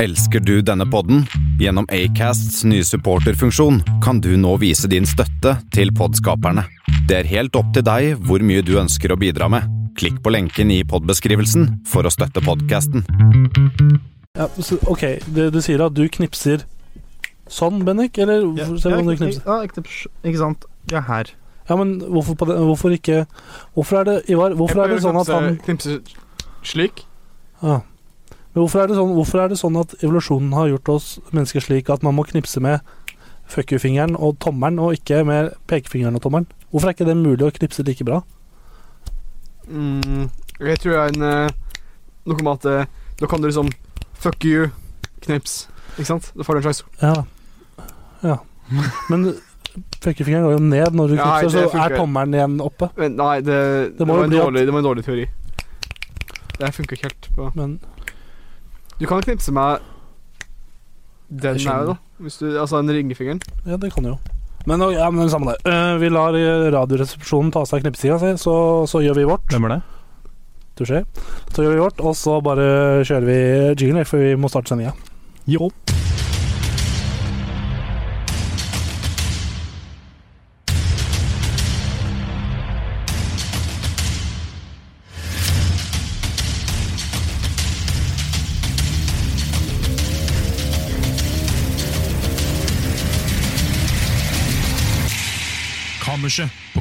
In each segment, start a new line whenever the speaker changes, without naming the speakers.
Elsker du denne podden? Gjennom Acasts nye supporterfunksjon kan du nå vise din støtte til podskaperne. Det er helt opp til deg hvor mye du ønsker å bidra med. Klikk på lenken i podbeskrivelsen for å støtte podkasten.
Ja, så, ok, det du sier er at du knipser sånn, Bennik? Eller
Ja,
se
ja,
hvordan du
ikke-
knipser.
Ja, ikke, ikke sant. Jeg er her.
Ja, men hvorfor, på den- hvorfor ikke Hvorfor er det Ivar, hvorfor er det sånn at han
Knipse slik?
ja. Men hvorfor er, det sånn, hvorfor er det sånn at evolusjonen har gjort oss mennesker slik at man må knipse med fuck you-fingeren og tommelen, og ikke med pekefingeren og tommelen? Hvorfor er ikke det mulig å knipse like bra?
Mm, jeg tror det er en eh, Noe med at eh, da kan du liksom Fuck you, knips. Ikke sant? Da får du en slags
Ja. ja. Men pekefingeren går jo ned når du
Nei,
knipser,
det
så er
funker.
tommelen igjen oppe.
Men nei, det, det,
må jo
var, en
bli at-
dårlig, det var en dårlig teori. Det her funker ikke helt. På.
Men
Du kan knipse med den
Jeg
her,
skjønner.
da. Hvis du, altså den ringefingeren.
Ja, det kan du jo. Men, og- ja, men samme det. Eh, vi lar eh, Radioresepsjonen ta seg knipstinga si, så, så gjør vi vårt.
Hvem er det?
Touché. Så gjør vi vårt, og så bare kjører vi jingle, for vi må starte sendinga.
Jo.
Kammerset på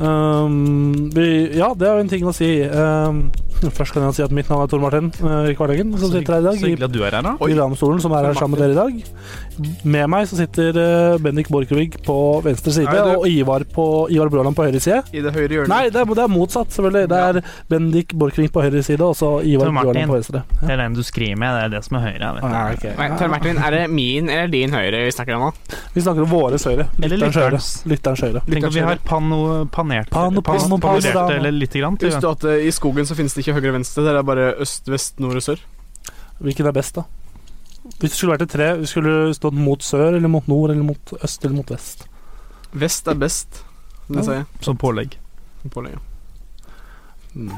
Ehm, vi, ja, det er jo en ting å si. Ehm, først kan jeg si at mitt navn er Tor Martin eh, i hverdagen, som sitter her i
Så
dag.
hyggelig at du er her, da.
I, i Ramstolen, som er her sammen med dere i dag. Med meg så sitter eh, Bendik Borchgrevig på venstre side
Nei, du-
og Ivar, på, Ivar Bråland på høyre side.
I det høyre hjørnet.
Nei, det er, det er motsatt, selvfølgelig. Det er Bendik Borchgrevig på høyre side og så Ivar
Tor Martin.
Bråland på venstre.
Det er den du skriver med, det er det som er høyre. Vet
Eh,
du.
Ah, ok.
Nei, Tor Martin, er det min eller din høyre vi snakker om nå?
Vi snakker om våres høyre.
Eller
Lytterens høyre.
lytterens.
Lytterens høyre.
Tenk at vi har pano, panert
Pano-
pan-
pano-
panorert
panorama.
det litt grann. Til,
Husk du at eh, i skogen så finnes det ikke høyre og venstre, det er bare øst, vest, nord og sør.
Hvilken er best, da? Hvis det skulle vært et tre, skulle det stått mot sør eller mot nord eller mot øst eller mot vest?
Vest er best, som
Ja.
det sier.
som pålegg.
Pålegget. Mm.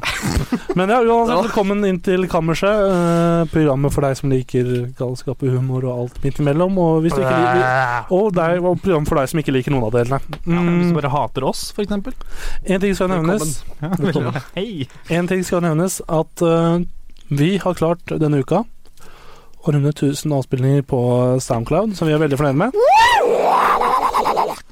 Men ja, uansett, velkommen inn til Kammerset. eh, programmet for deg som liker galskap og humor og alt midt imellom. Og, hvis du ikke liker,
Ja,
og, deg, og program for deg som ikke liker noen av delene.
hvis du
Mm,
bare hater oss, for eksempel.
en ting skal nevnes.
Ja,
Velkommen.
vel, Hei.
En ting skal nevnes at eh, vi har klart denne uka å runde 1000 avspillinger på Soundcloud, som vi er veldig fornøyd med.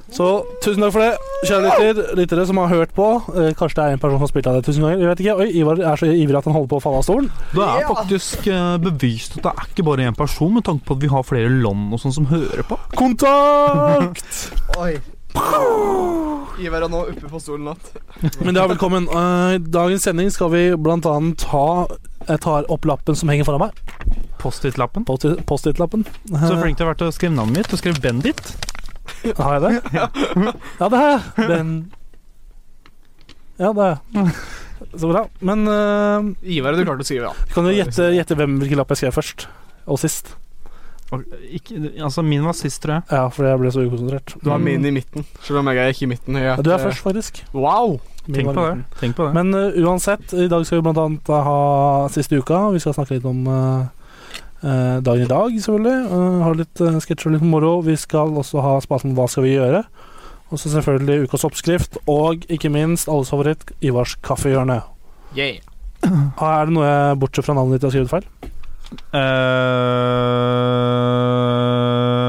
Så tusen takk for det, kjære lytter, lyttere som har hørt på. Eh, kanskje det er en person som har spilt av det tusen ganger. Jeg vet ikke. Oi, Ivar er så ivrig at han holder på å falle av stolen.
Det er faktisk eh, bevist at det er ikke bare én person, med tanke på at vi har flere land og sånn som hører på.
Kontakt!
Ivar er nå oppe på stolen natt.
Men ja, velkommen. Eh, I dagens sending skal vi blant annet ha Jeg tar opp lappen som henger foran meg.
Post-it-lappen.
Post- Post-it-lappen.
Så
Eh,
flink du har vært til å skrive navnet mitt. Du skrev Bendit.
Har jeg det? Ja, det har jeg. Den Ja, det har jeg. Så bra. Men øh,
Ivar hadde klart å skrive, ja.
kan du gjette, gjette hvem hvilken lapp jeg skrev først? Og sist?
Og Ikke, altså, min var sist, tror jeg.
Ja, fordi jeg ble så ukonsentrert. Mm.
Du har min i midten, selv om jeg er ikke i midten. Jeg,
Ja, du er først, faktisk.
Wow!
Min
Tenk
var
på
i
det.
midten.
Tenk på det.
Men øh, uansett, i dag skal vi blant annet ha siste uka. Vi skal snakke litt om øh, øh, dagen i dag, selvfølgelig. Øh, ha litt uh, sketsjer og litt moro. Vi skal også ha spalten Hva skal vi gjøre? Og så selvfølgelig ukas oppskrift, og ikke minst alles favoritt, Ivars kaffehjørne.
Yeah.
Ah, Er det noe jeg, bortsett fra navnet ditt, jeg har skrevet feil?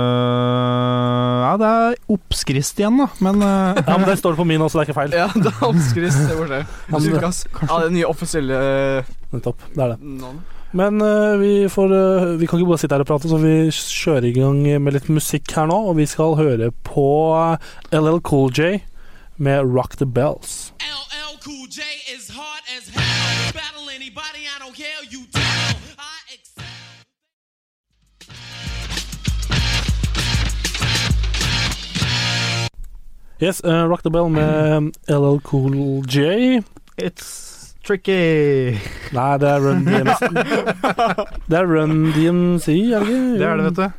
Eh, ja, det er oppskrift igjen, da. Men eh,
Ja, men Der står det på min også, det er ikke feil.
Ja, det er oppskrift. Det får se.
Ja, men-
Ukas. Ja, det nye offisielle eh,
Nettopp, det er det.
navn.
Men eh, vi, får, eh, vi kan ikke bare sitte her og prate, så vi kjører i gang med litt musikk her nå. Og vi skal høre på LL Cool J med Rock the Bells.
LL Cool J is hard as hell. Battle anybody, I don't care. You down? I excel.
Yes, eh, Rock the Bell med LL eh, Cool J.
It's tricky.
Nei, det er Run DMC. Det er Run DMC, er det ikke?
Det er det, vet du.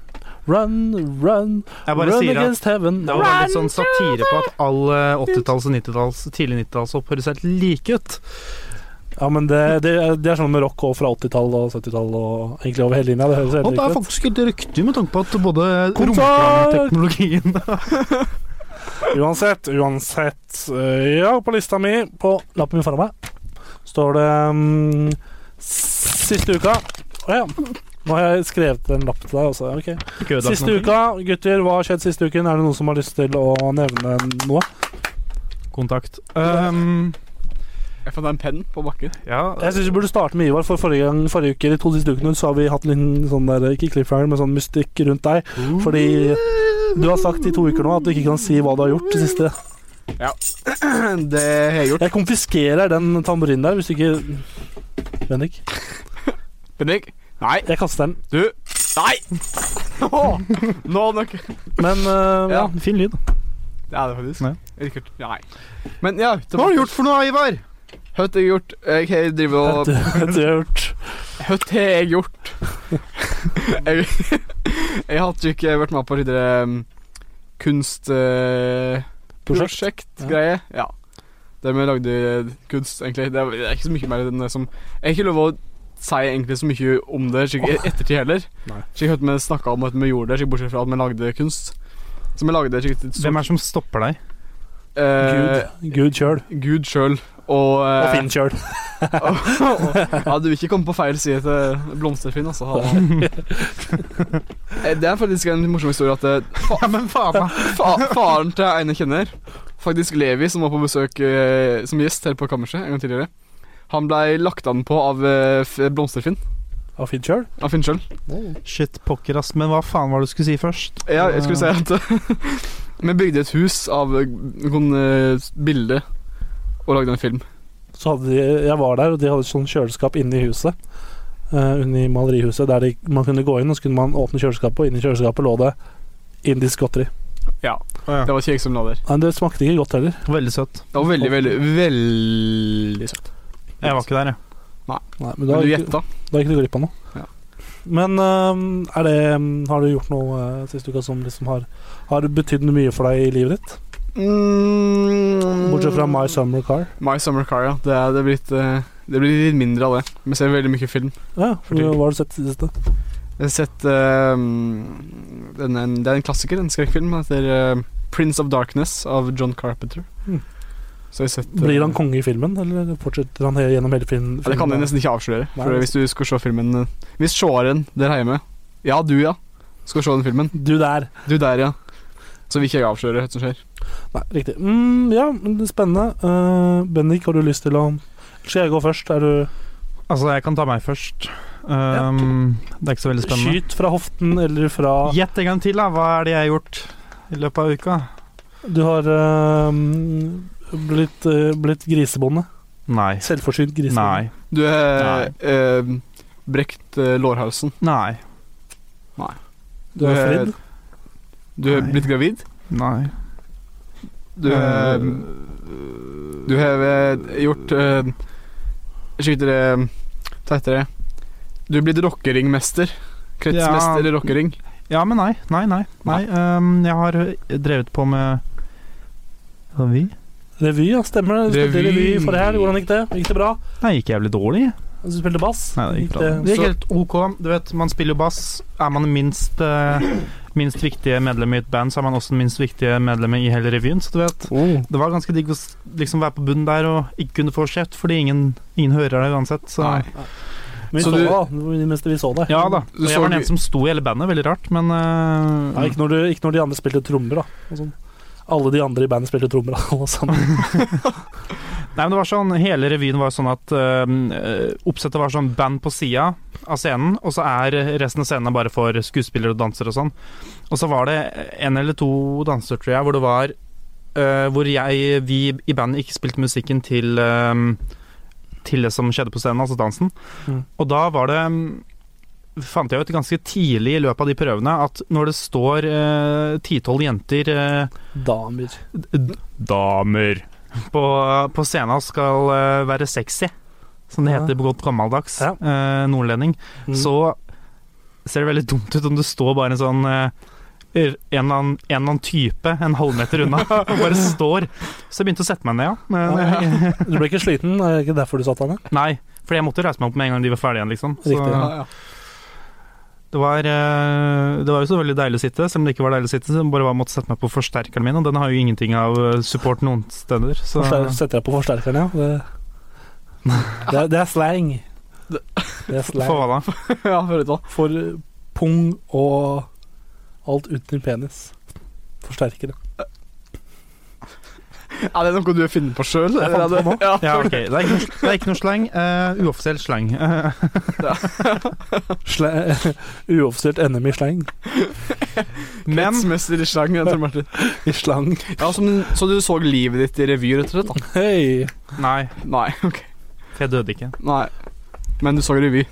Run, run,
Jeg bare
run
sier at
against heaven.
det var litt sånn satire på at all eh, 80-talls- og 90-talls tidlig 90-tallshopp høres helt like ut.
Ja, men det, det, er- det er sånn med rock og fra 80-tall og 70-tall og egentlig over hele linja. Det høres
Og
helt
det er
riktig ut.
faktisk et rykte med tanke på at både
Kontakt!
romklanteknologien
Uansett, uansett. eh, Ja, på lista mi, på lappen min foran meg, står det mm, Siste uka Å ja. Nå har jeg skrevet en lapp til deg også. ok Siste uka, gutter. Hva har skjedd siste uken? Er det noen som har lyst til å nevne noe?
Kontakt. Um,
Jeg fant en penn på bakken.
ja,
Jeg syns vi burde starte med Ivar, for forrige, gang, forrige uke, de to siste ukene så har vi hatt en liten sånn der, ikke cliffhanger, men sånn mystikk rundt deg. Fordi du har sagt i to uker nå at du ikke kan si hva du har gjort det siste.
Det har jeg gjort.
Jeg konfiskerer den tamburinen der, hvis du ikke Bendik,
Bendik? Nei.
jeg kaster den.
Du. Nei! Åh, Nå nok.
Men eh, ja.
Ja.
Fin lyd.
Det er det faktisk.
Nei.
Rikard. Nei. Men ja.
Hva har du gjort for noe, Ivar?
Høtt har jeg gjort. Jeg har drivet og
Det har jeg hørt.
Høtt har jeg gjort. jeg, jeg hadde jo ikke vært med på um, tidligere
Prosjekt.
kunstprosjekt-greie. ja. Der vi lagde kunst, egentlig. Det er, det er ikke så mye mer enn det som Jeg har ikke lov å si egentlig så mye om det slik, i ettertid heller.
Nei.
Slik at vi snakka om at vi gjorde det, slik, bortsett fra at vi lagde kunst. Så vi lagde slik,
Hvem
et stort
er det som stopper deg?
eh,
Gud. Gud sjøl.
Gud sjøl. Og,
Og
eh,
Finn sjøl.
ja, du vil ikke komme på feil side til Blomsterfinn, altså. Han- Eh, Det er faktisk en morsom historie at eh,
Ja, men faen meg.
fa faren til en jeg kjenner, faktisk Levi, som var på besøk eh, som gjest her på kammerset en gang tidligere, han blei lagt an på av eh, F- Blomsterfinn.
Og Finn sjøl.
Av Finn sjøl.
Shit, pokker, ass. Men hva faen var det du skulle si først? Ehm,
Ja, jeg skulle si at vi bygde et hus av eh, noen eh, bilder og lagde en film.
Så hadde de, jeg var der, og de hadde et sånt kjøleskap inne i huset. eh, inne i malerihuset, der de, man kunne gå inn, og så kunne man åpne kjøleskapet, og inni kjøleskapet lå det indisk godteri.
Å,
Det
ja.
var ikke jeg som la der.
Nei, det smakte ikke godt heller.
Veldig søtt.
Det var veldig, veldig, veldig søtt.
Jeg var ikke der, jeg.
Nei, men da,
Men du
gikk-
gjetta.
da gikk du glipp av noe.
Ja.
Men øhm, er det, øhm, har du gjort noe uh, siste uka som liksom har, har betydd mye for deg i livet ditt?
Mm.
Bortsett fra My Summer Car.
My Summer Car, ja. Det, er, det, blir litt, eh, det blir litt mindre av det. Vi ser veldig mye film.
Ja,
tiden.
hva har du sett i det siste?
Jeg har sett eh, mm, den, er en, Det er en klassiker, en skrekkfilm. Den heter eh, Prince of Darkness av John Carpenter.
Mm.
Så jeg har sett eh,
Blir han konge i filmen, eller fortsetter han he- gjennom hele filmen?
ja, Det kan jeg nesten ikke avsløre.
Nei, altså.
For
det-
Hvis du skal se filmen eh, Hvis seeren der hjemme Ja, du, ja. Skal se den filmen.
Du der.
Du der, ja. Så vil ikke jeg avsløre hva som skjer.
Nei, riktig. Mm, ja, men det er spennende. Uh, Bendik, har du lyst til å Skal jeg gå først? Er du
Altså, jeg kan ta meg først. Um, Det er ikke så veldig spennende.
Skyt fra hoften eller fra
Gjett en gang til, da. Hva er det jeg har gjort i løpet av uka?
Du har øhm, blitt, øh, blitt grisebonde.
Nei.
Selvforsynt grisebonde.
Nei.
Du er eh, brekt eh, lårhalsen.
Nei.
Du har
Du er-
fridd.
Du er
Nei.
blitt gravid.
Nei. Ehm,
Du
eh,
er Du har eh, gjort uh, Skyter det Hva heter det? Du er blitt rockeringmester.
Ja.
Kretsmester i rockering.
Ja, men nei. Nei, nei. nei. Um, jeg har drevet på med Revy?
Revy, ja. Stemmer det. Du spilte
Revy.
revy forrige helg. Hvordan gikk det? Gikk det bra?
Nei, gikk jævlig dårlig.
Du spilte bass?
Nei, det gikk bra. Det gikk helt ok. Du vet, man spiller jo bass. Er man minst, eh, minst viktige medlem i et band, så er man også den minst viktige medlemmet i hele revyen, så du vet. Det var ganske digg å s- liksom være på bunnen der og ikke kunne få kjeft, fordi ingen, ingen hører deg uansett. Så.
Nei.
Men vi
Så
så,
du-
deg, da. Det meste vi så deg.
Ja da.
Du
Og
så
jeg var den
ikke-
eneste som sto i hele bandet, veldig rart, men eh,
Nei, ikke, når du, ikke når de andre spilte trommer, da. Og sånn. Alle de andre i bandet spilte trommer, alle sammen.
Nei, men det var sånn, Hele revyen var sånn at øhm, øh, oppsettet var sånn band på sida av scenen, og så er resten av scenen bare for skuespillere og dansere og sånn. Og så var det en eller to danser, tror jeg, hvor det var øh, Hvor jeg, vi i bandet ikke spilte musikken til øhm, Til det som skjedde på scenen, altså dansen.
Mm.
Og da var det øhm, Fant jeg ut ganske tidlig i løpet av de prøvene at når det eh, står ti-tolv jenter øh,
Damer.
d- Damer på, på scenen skal eh, være sexy, som det heter på godt gammeldags
Ja.
eh, nordlending,
Mm.
så ser det veldig dumt ut om det står bare en sånn eh, en eller, annen, en eller annen type en halvmeter unna og bare står. Så jeg begynte å sette meg ned, ja. Men, eh,
Du ble ikke sliten? Er det ikke derfor du satt deg ned?
Nei, fordi jeg måtte reise meg opp med en gang de var ferdige igjen, liksom. Så
Riktig, ja.
det var, eh, det var jo så veldig deilig å sitte, selv om det ikke var deilig å sitte. Så jeg bare var- måtte sette meg på forsterkeren min, og den har jo ingenting av eh, support noen steder. Så
Forster- Setter jeg på forsterkeren, ja. Det, det, er, det er slang.
Det-
Det er
for
slang
hva da?
ja, for ut da.
for pung og alt uten penis. Forsterkere.
Er det noe du har funnet på sjøl?
Jeg fant på nå.
Ja.
Ja, ok. Det er ikke noe, det er ikke noe slang. eh, uoffisiell slang. Eh,
Sla Uoffisielt NM i slang.
men
Kretsmester i slang, jeg tror Martin.
I slang.
Ja, som, så du så livet ditt i revy, rett og slett? da?
Hei!
Nei,
Nei, ok.
for jeg døde ikke.
Nei. Men du så revy?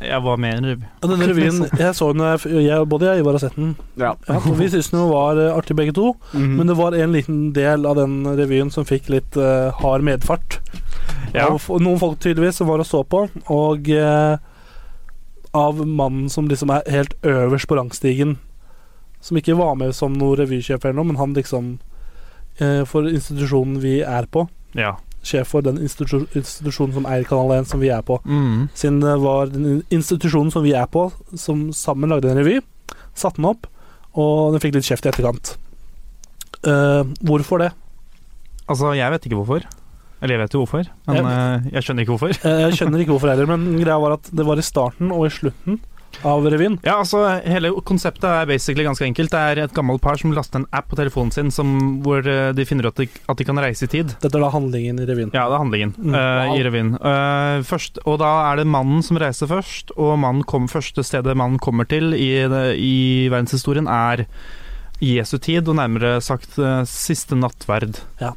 Jeg var med i en revy.
Og Denne revyen jeg så den, når jeg, jeg, både jeg og Ivar har sett den.
Ja.
Ja, for vi syntes den jo var eh, artig begge to, men det var en liten del av den revyen som fikk litt eh, hard medfart.
Ja.
Av f- noen folk tydeligvis som var og så på, og eh, av mannen som liksom er helt øverst på rangstigen. Som ikke var med som noen revysjef eller noe, men han liksom eh, For institusjonen vi er på,
Ja.
sjef for den institusjon, institusjonen som eier Kanal 1, som vi er på.
Mm.
Siden det eh, var den institusjonen som vi er på, som sammen lagde en revy, satte den opp, og den fikk litt kjeft i etterkant. Eh, hvorfor det?
Altså, jeg vet ikke hvorfor. Eller jeg vet jo hvorfor, men eh, jeg skjønner ikke hvorfor.
Eh, jeg skjønner ikke hvorfor heller, men greia var at det var i starten og i slutten av revyen.
Ja, altså, Hele konseptet er basically ganske enkelt. Det er et gammelt par som laster en app på telefonen sin som, hvor eh, de finner ut at de, at de kan reise i tid.
Dette er da handlingen i revyen.
Ja, det er handlingen
Mm.
eh,
Wow.
i revyen. Eh, først, og da er det mannen som reiser først, og mannen kom, første stedet mannen kommer til i, det- i verdenshistorien, er Jesu tid, og nærmere sagt eh, siste nattverd.
Ja.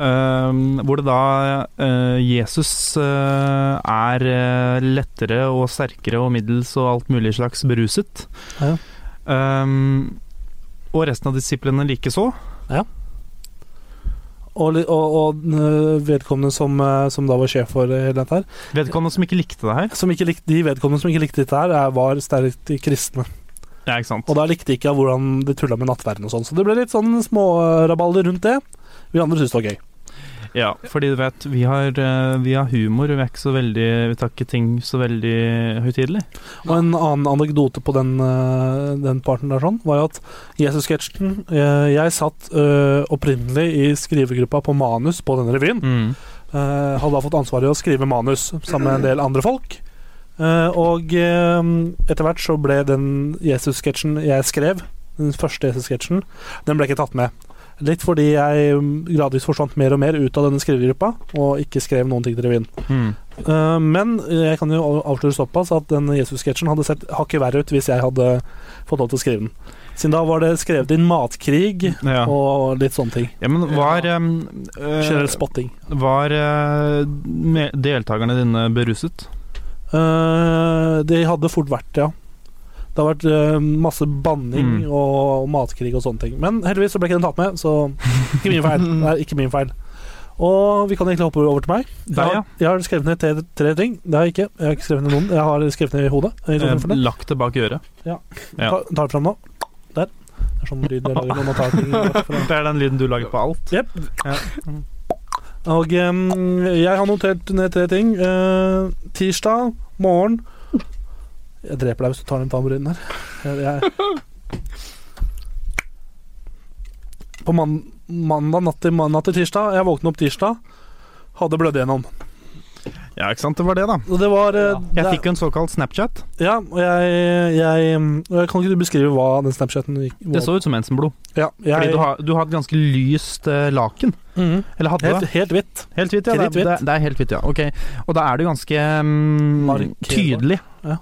Eh, hvor det da eh, Jesus eh, er eh, lettere og sterkere og middels og alt mulig slags beruset.
Ja.
Eh, og resten av disiplene likeså.
Og, li- og, og eh, vedkommende som, eh, som da var sjef for eh, hele dette her,
Vedkommende som ikke likte det her.
som ikke likte, de vedkommende som ikke likte dette her, er- var sterkt kristne.
Ja, ikke sant?
Og da likte de ikke hvordan de tulla med nattverden og sånn, så det ble litt sånn smårabalder rundt det. Vi andre syntes det var gøy.
Ja, fordi du vet, vi har, eh, vi har humor, og vi er ikke så veldig Vi tar ikke ting så veldig høytidelig.
Og en annen anekdote på den, eh, den parten der sånn, var jo at Jesus-sketsjen eh, Jeg satt eh, opprinnelig i skrivegruppa på manus på denne revyen.
Mm.
Eh, Hadde da fått ansvaret i å skrive manus sammen med en del andre folk. Eh, Og eh, etter hvert så ble den Jesus-sketsjen jeg skrev, den første Jesus-sketsjen, den ble ikke tatt med. Litt fordi jeg mm, gradvis forsvant mer og mer ut av denne skrivegruppa, og ikke skrev noen ting til revyen.
Mm.
Eh, men jeg kan jo avsløre såpass at den Jesus-sketsjen hadde sett hakket verre ut hvis jeg hadde fått lov til å skrive den. Siden da var det skrevet inn matkrig
Ja.
og litt sånne ting.
ja, men var eh, eh,
Generell spotting.
Var eh, me- deltakerne dine beruset?
Eh, det hadde fort vært, ja. Det har vært eh, masse banning
Mm.
og matkrig og sånne ting. Men heldigvis så ble ikke den tatt med, så ikke min feil. Det er ikke min feil. Og vi kan egentlig hoppe over til meg. Jeg
Deg, ja.
har, jeg har skrevet ned tre, tre ting. Det har jeg ikke. Jeg har ikke skrevet ned noen. Jeg har skrevet ned i hodet. i to
Eh,
tilfeller.
lagt det bak øret? Ja.
Ta, tar det fram nå. Der. Det er sånn lyd jeg lager når man tar ting bort fra.
Det er den lyden du lager på alt?
Og em, jeg har notert ned tre ting. Eh, tirsdag morgen Jeg dreper deg hvis du tar den tamburinen her. Jeg, jeg. På man, mandag natt til, natt til tirsdag Jeg våknet opp tirsdag, hadde blødd igjennom.
Ja, ikke sant. Det var det, da.
Og det var eh,
Jeg
det-
fikk jo en såkalt Snapchat.
Ja, og jeg, jeg, em, Kan ikke du beskrive hva den Snapchaten gikk
Det så ut som mensenblod.
ja, jeg,
Fordi du har, du har et ganske lyst eh, laken.
Mhm.
Eller hadde
helt,
det.
helt hvitt.
Helt hvitt, ja. Det,
Kritthvitt.
er- det, er- det er helt hvitt, ja. Ok. Og da er det ganske mm,
Markerbar.
tydelig
Ja.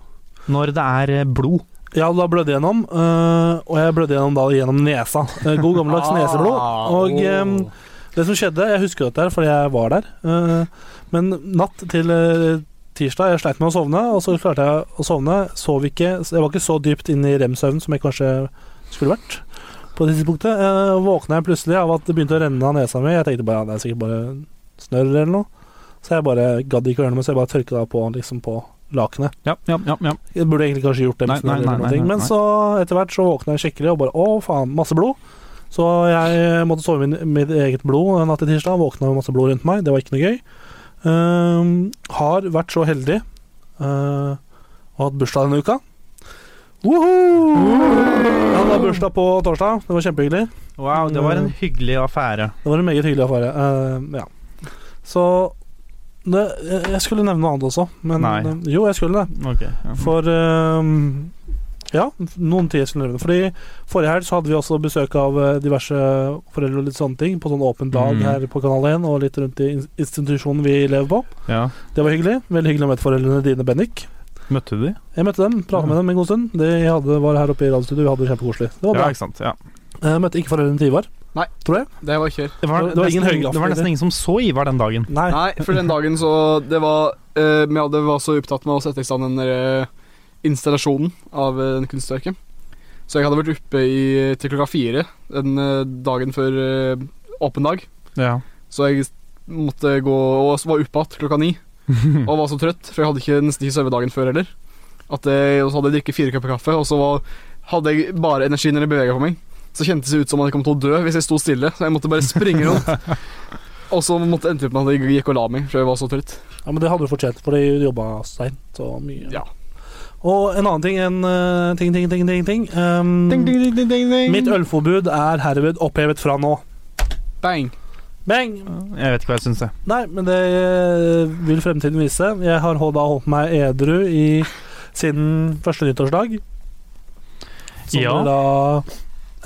når det er eh, blod.
Ja, da blødde jeg gjennom, øh, og jeg blødde gjennom da gjennom nesa. Eh, God gammeldags
Ah.
neseblod. Og
eh,
ehm, det som skjedde, jeg husker dette her fordi jeg var der, eh, men natt til eh, tirsdag, jeg sleit med å sovne, og så klarte jeg å sovne. Sov ikke, så jeg var ikke så dypt inne i rem-søvn som jeg kanskje skulle vært. på det tidspunktet. Eh, våkna jeg plutselig av at det begynte å renne av nesa mi. Jeg tenkte bare ja, det er sikkert bare snørr eller noe. Så jeg bare gadd ikke å gjøre noe med, så jeg bare tørka det av på, liksom på lakenet.
Ja, ja, ja, ja.
Jeg burde egentlig kanskje gjort det,
Nei,
hvis det
nei,
hadde gjort
nei,
noen
nei,
ting.
nei,
men
nei.
så etter hvert så våkna jeg skikkelig og bare å faen, masse blod. Så jeg eh, måtte sove i min- mitt eget blod natt til tirsdag. Våkna med masse blod rundt meg, det var ikke noe gøy. Ehm, har vært så heldig eh, og hatt bursdag denne uka. Woho! Jeg hadde bursdag på torsdag, det var kjempehyggelig.
Wow, det var en hyggelig affære.
Det var en meget hyggelig affære. eh, ja. Så det, jeg- Jeg skulle nevne noe annet også, men eh,
Nei.
Jo, jeg skulle det.
Ok, ja.
For ehm, Ja, noen tider skulle jeg nevne. Fordi forrige helg så hadde vi også besøk av eh, diverse foreldre og litt sånne ting på sånn åpen dag
Mm.
her på Kanal 1 og litt rundt i in- institusjonen vi lever på.
ja.
Det var hyggelig. Veldig hyggelig å møte foreldrene dine, Bennik.
Møtte du de?
Jeg møtte dem, prata med dem en god stund. De hadde, var her oppe i radiostudioet, vi hadde det kjempekoselig. Det var
Ja,
bra.
ikke sant. Ja.
Jeg møtte ikke foreldrene til Ivar.
Nei.
Tror jeg.
Det var kjør.
Det, var
Det var ingen
nesten,
høygraff,
det var nesten ingen som så Ivar den dagen.
Nei.
Nei, for den dagen så Det var eh, Vi hadde var så opptatt med å sette i stand den der eh, installasjonen av eh, den kunstverket. Så jeg hadde vært oppe i, til klokka fire den eh, dagen før eh, åpen dag.
Ja.
Så jeg måtte gå og så var oppe igjen klokka ni. Og var så trøtt, for jeg hadde ikke nesten ikke sovet dagen før heller. At jeg, og så hadde jeg drukket fire kopper kaffe, og så var, hadde jeg bare energi når jeg bevega på meg. Så kjentes det ut som om jeg kom til å dø hvis jeg sto stille, så jeg måtte bare springe rundt. Og så måtte jeg endte opp med at jeg gikk og la meg, for jeg var så trøtt.
Ja, Men det hadde du fortjent, for de jobba seint og mye.
Ja.
Og en annen ting, en eh, ting, ting, ting, ting, ting. Ehm, Mitt ølforbud er herved opphevet fra nå.
Bang.
Bang!
Jeg vet ikke hva jeg syns, jeg.
Nei, men det eh, vil fremtiden vise. Jeg har holdt- da holdt meg edru i, siden første nyttårsdag. Som
Ja.
er da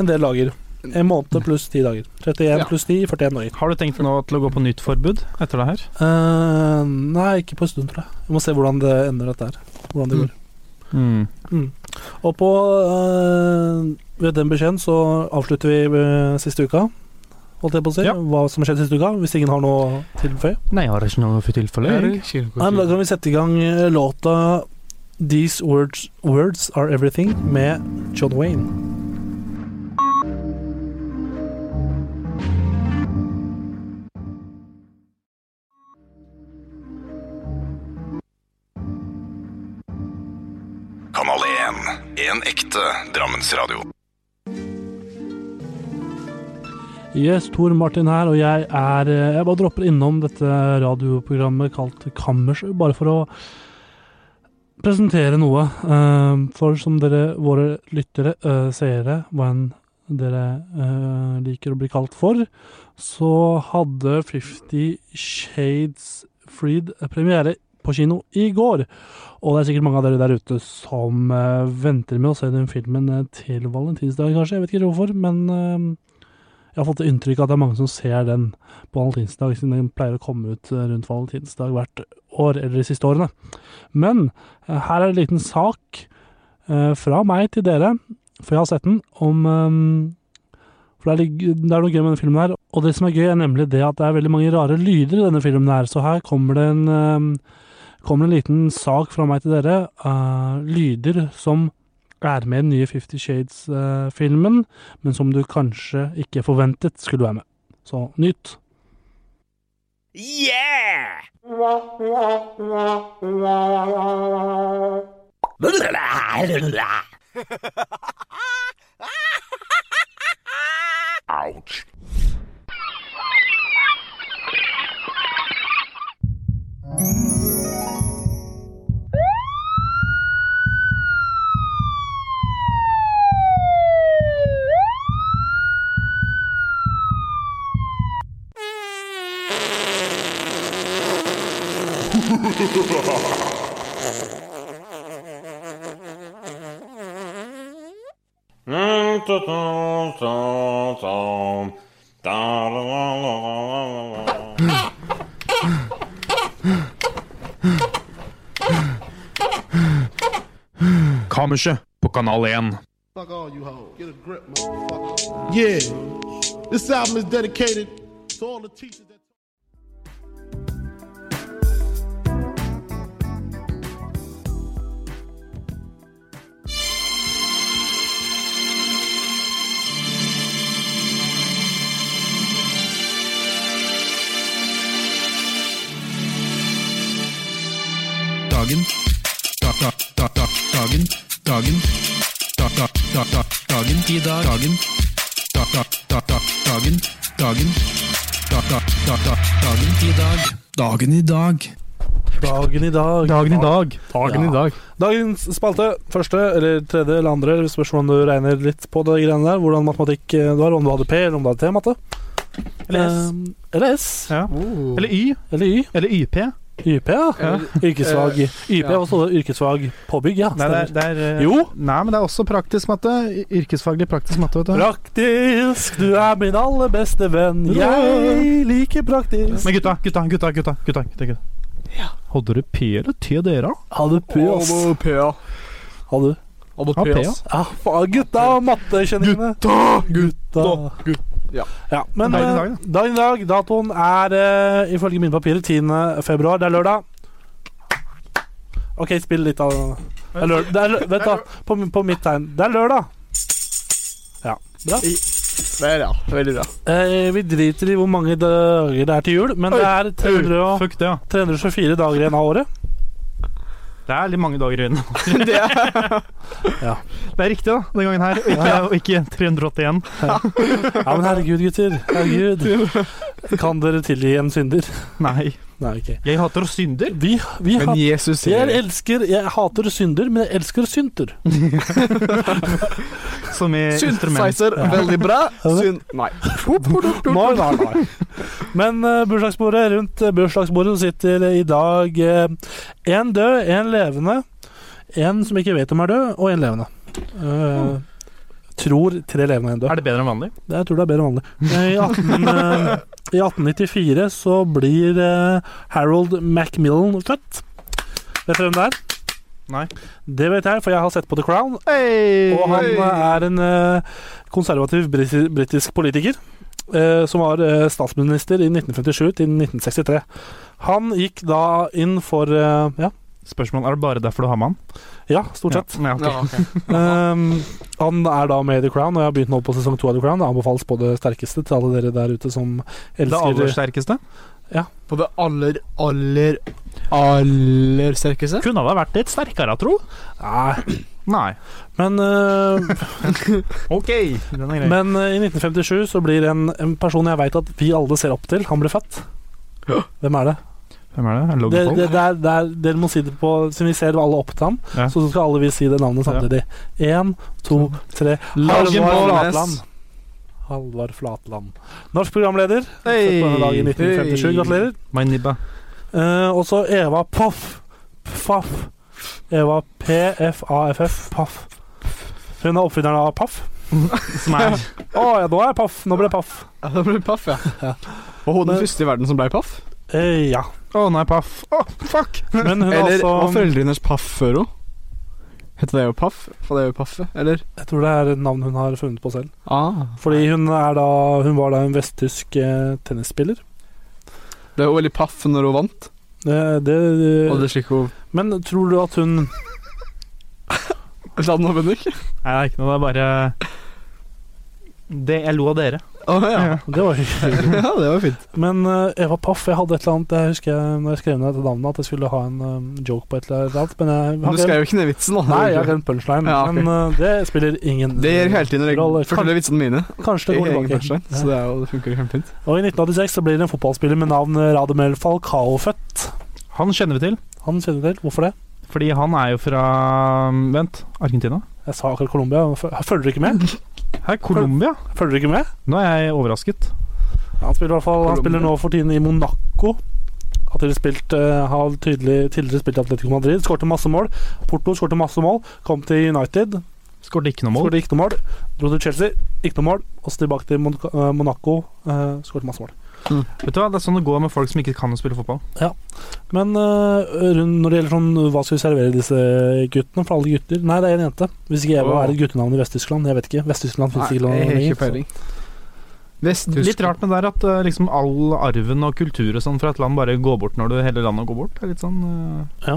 en del dager. En måned pluss ti dager. 31
Ja.
pluss 10, 41 dager.
Har du tenkt nå til å gå på nytt forbud etter det her?
Eh, nei, ikke på en stund, tror jeg. Vi må se hvordan det ender, dette her. Hvordan det
Mm.
går.
Hmm.
Og på eh, Ved den beskjeden så avslutter vi eh, siste uka, holdt jeg på å si.
Ja.
Hva som har skjedd siste uka, hvis ingen har noe å tilføye.
Nei, jeg har ikke noe for tilfelle. jeg.
Nei, men da kan vi sette i gang eh, låta 'These Words, Words Are Everything' med John Wayne.
Kanal 1. En ekte Drammensradio.
Yes, Tor Martin her, og jeg er eh, Jeg bare dropper innom dette radioprogrammet kalt Kammers, bare for å presentere noe. Eh, For som dere, våre lyttere, eh, seere, hva enn dere eh, liker å bli kalt for, så hadde Fifty Shades Freed premiere på kino i går. Og det er sikkert mange av dere der ute som eh, venter med å se den filmen eh, til valentinsdagen, kanskje. Jeg vet ikke hvorfor, men eh, jeg har fått inntrykk av at det er mange som ser den på valentinsdag, siden den pleier å komme ut eh, rundt valentinsdag hvert år, eller de siste årene. Men eh, her er en liten sak eh, fra meg til dere, for jeg har sett den, om eh, For det er, litt- det er noe gøy med denne filmen her. Og det som er gøy, er nemlig det at det er veldig mange rare lyder i denne filmen her, så her kommer det en eh, Kommer en liten sak fra meg til dere. eh, lyder som er med i den nye Fifty Shades-filmen men som du kanskje ikke forventet skulle være med. Så nytt.
Yeah!
Ouch.
Kammerset på Kanal 1.
Yeah. This album is dedicated to all the teachers that
dagen. Da, da, da, da, dagen. Dagen. Da, da, da, da, dagen. I dag. Dagen. Da, da, da, da, dagen. Dagen. Da, da, da, da, dagen. I dag. Dagen i dag.
Dagen i dag.
Dagen i dag.
Dagen i dag. Dagens spalte, første eller tredje eller andre, det spørs hvordan du regner litt på det greiene der, hvordan matematikk eh, du har, om du hadde P eller om du hadde T-matte.
Eller S.
Eh, Eller S.
Ja.
Oh.
Eller Y.
Eller Y.
Eller YP.
YP, ja. Yrkesfag.
Eh,
YP er
ja.
også yrkesfag påbygg, ja.
Nei, det er, det er, eh,
Jo.
Nei, men det er også praktisk matte. Yrkesfaglig praktisk matte, vet du.
Praktisk, du er min aller beste venn. Jeg liker praktisk.
Men gutta, gutta, gutta, gutta, gutta, gutta, gutta. Hadde dere P eller T, dere?
Hadde P, ass.
Hadde P, ja.
Hadde
Ja,
Hadde P,
P,
ass.
Ja, faen, gutta og mattekjenningene. Gutta,
Ja.
Ja, men
Dagen i
eh,
dag,
dagen i dag, datoen er eh, ifølge mine papirer 10. februar. Det er lørdag. OK, spill litt av det er lø- det er lø- Vent, da. På, min- på mitt tegn. Det er lørdag. Ja, bra.
Der, ja. Veldig bra.
Eh, vi driter i hvor mange dager det er til jul, men det er 300 og,
Fuck det, ja.
324 dager igjen av året.
Det er litt mange dager igjen.
Det er,
Ja.
Det er riktig, da, den gangen her. Og ikke, og ikke 381.
ja, men herregud, gutter. Herregud. Kan dere tilgi en synder?
Nei.
Nei, ok.
Jeg hater synder.
Vi, vi har
men Jesus sier
Jeg elsker Jeg hater synder, men jeg elsker synter.
Som i instrument.
Synthesizer, veldig bra. Syn... Nei.
Nei, nei, nei. Men eh, bursdagsbordet rundt eh, bursdagsbordet så sitter i dag én død, én levende, én som ikke vet om er død, og én levende. Eh, Tror tre levende og en død.
Er det bedre enn vanlig?
Det jeg tror det er bedre vanlig. Eh, I, 18, eh, I 1894 så blir eh, Harold Macmillan født. Vet dere hvem det er?
Nei.
Det vet jeg, for jeg har sett på The Crown.
Hey!
Og han eh, er en eh, konservativ briti- britisk politiker. eh, som var eh, statsminister i 1957 til 1963. Han gikk da inn for eh, ja,
Spørsmål, Er det bare derfor du har med han?
ja, stort sett.
Ja, ok.
Ja, ok.
Ehm, han er da med i The Crown, og jeg har begynt nå på sesong to av The Crown. Det anbefales på det sterkeste til alle dere der ute som
Det
elsker
aller sterkeste?
På det aller, aller, aller sterkeste.
Kunne det vært litt sterkere, tro?
Nei,
Nei.
men, eh,
OK, den er grei.
men eh, i 1957 så blir en, en person jeg veit at vi alle ser opp til, han blir født. Hvem er det?
Hvem er det? Er det
det,
Logan Paul?
det, det er, det er, dere må si det på Siden vi ser alle opp til ham,
Ja.
så skal alle vi si det navnet samtidig. Én, to, tre Halvard
Balnes.
Flatland. Halvard Flatland. Norsk programleder.
Hey!
Født på denne dagen i 1957. Gratulerer.
My Nibba.
Eh, og så Eva Poff. Pfaff. Eva PFAFF. Paff. Hun er oppfinneren av Paff.
Som er
Å ja, nå er jeg Paff. Nå ble jeg Paff.
Ja, det ble paff, ja. Var hun den første i verden som ble paff?
Eh, ja.
Å nei, paff. Å, fuck!
Men hun altså- er
Eller var
også
foreldrene hennes paff før henne? Heter det jo paff? For det er jo paffe, eller?
Jeg tror det er et navn hun har funnet på selv.
Ah.
Fordi hun, er da, hun var da en vesttysk eh, tennisspiller.
Ble hun veldig paff når hun vant?
Det, det,
Og det er slik hun
men tror du at hun
La den nå, Bendik.
Nei, det er ikke noe, det er bare det, Jeg lo av dere.
Å ja.
Det var hyggelig.
ja, det var fint.
Men eh, Eva Paff, jeg hadde et eller annet Jeg husker jeg, når jeg skrev ned dette navnet, at jeg skulle ha en eh, joke på et eller annet. Men jeg
Men
har
du
glemt-
skrev jo ikke ned vitsen, da.
Nei, jeg har glemt punchline.
Ja, ok.
Men eh, det spiller ingen
Det gjør jeg hele tiden når
rolle.
jeg forteller vitsene mine.
Kan- Kanskje
I
det går
egen
tilbake.
punchline, så det, er jo, det funker jo kjempefint.
Og i 1986 så blir det en fotballspiller med navn Radamel Falcao født.
Han kjenner vi til,
Han kjenner du til. Hvorfor det?
fordi han er jo fra um, Vent, Argentina?
Jeg sa akkurat Colombia. F- Følger du ikke med?
Her, Colombia?
Følger du ikke med?
Nå er jeg overrasket.
Han spiller, i hvert fall, han
Colombia.
spiller nå for tiden i Monaco. Har tidligere spilt, eh, har tydelig, tidligere spilt i Atletico Madrid. Skårte masse mål. Porto skårte masse mål. Kom til United.
Skåret ikke noe mål.
Skårte ikke noe mål. Dro til Chelsea. Ikke noe mål. Og så tilbake til Mon eh, Monaco. eh, Skårte masse mål.
Vet du hva, Det er sånn det går med folk som ikke kan å spille fotball.
Men eh, rundt- når det gjelder sånn hva skal vi servere disse guttene? For alle gutter? Nei, det er en jente. Hvis ikke Eva
Åh.
er et guttenavn i Vest-Tyskland. Jeg vet ikke. Vest-Tyskland finnes ikke
Nei, jeg har
lenger,
ikke peiling. Vest-Tyskland.
Litt rart med det der at eh, liksom all arven og kultur og sånn fra et land bare går bort når du hele landet går bort. Det er litt sånn eh,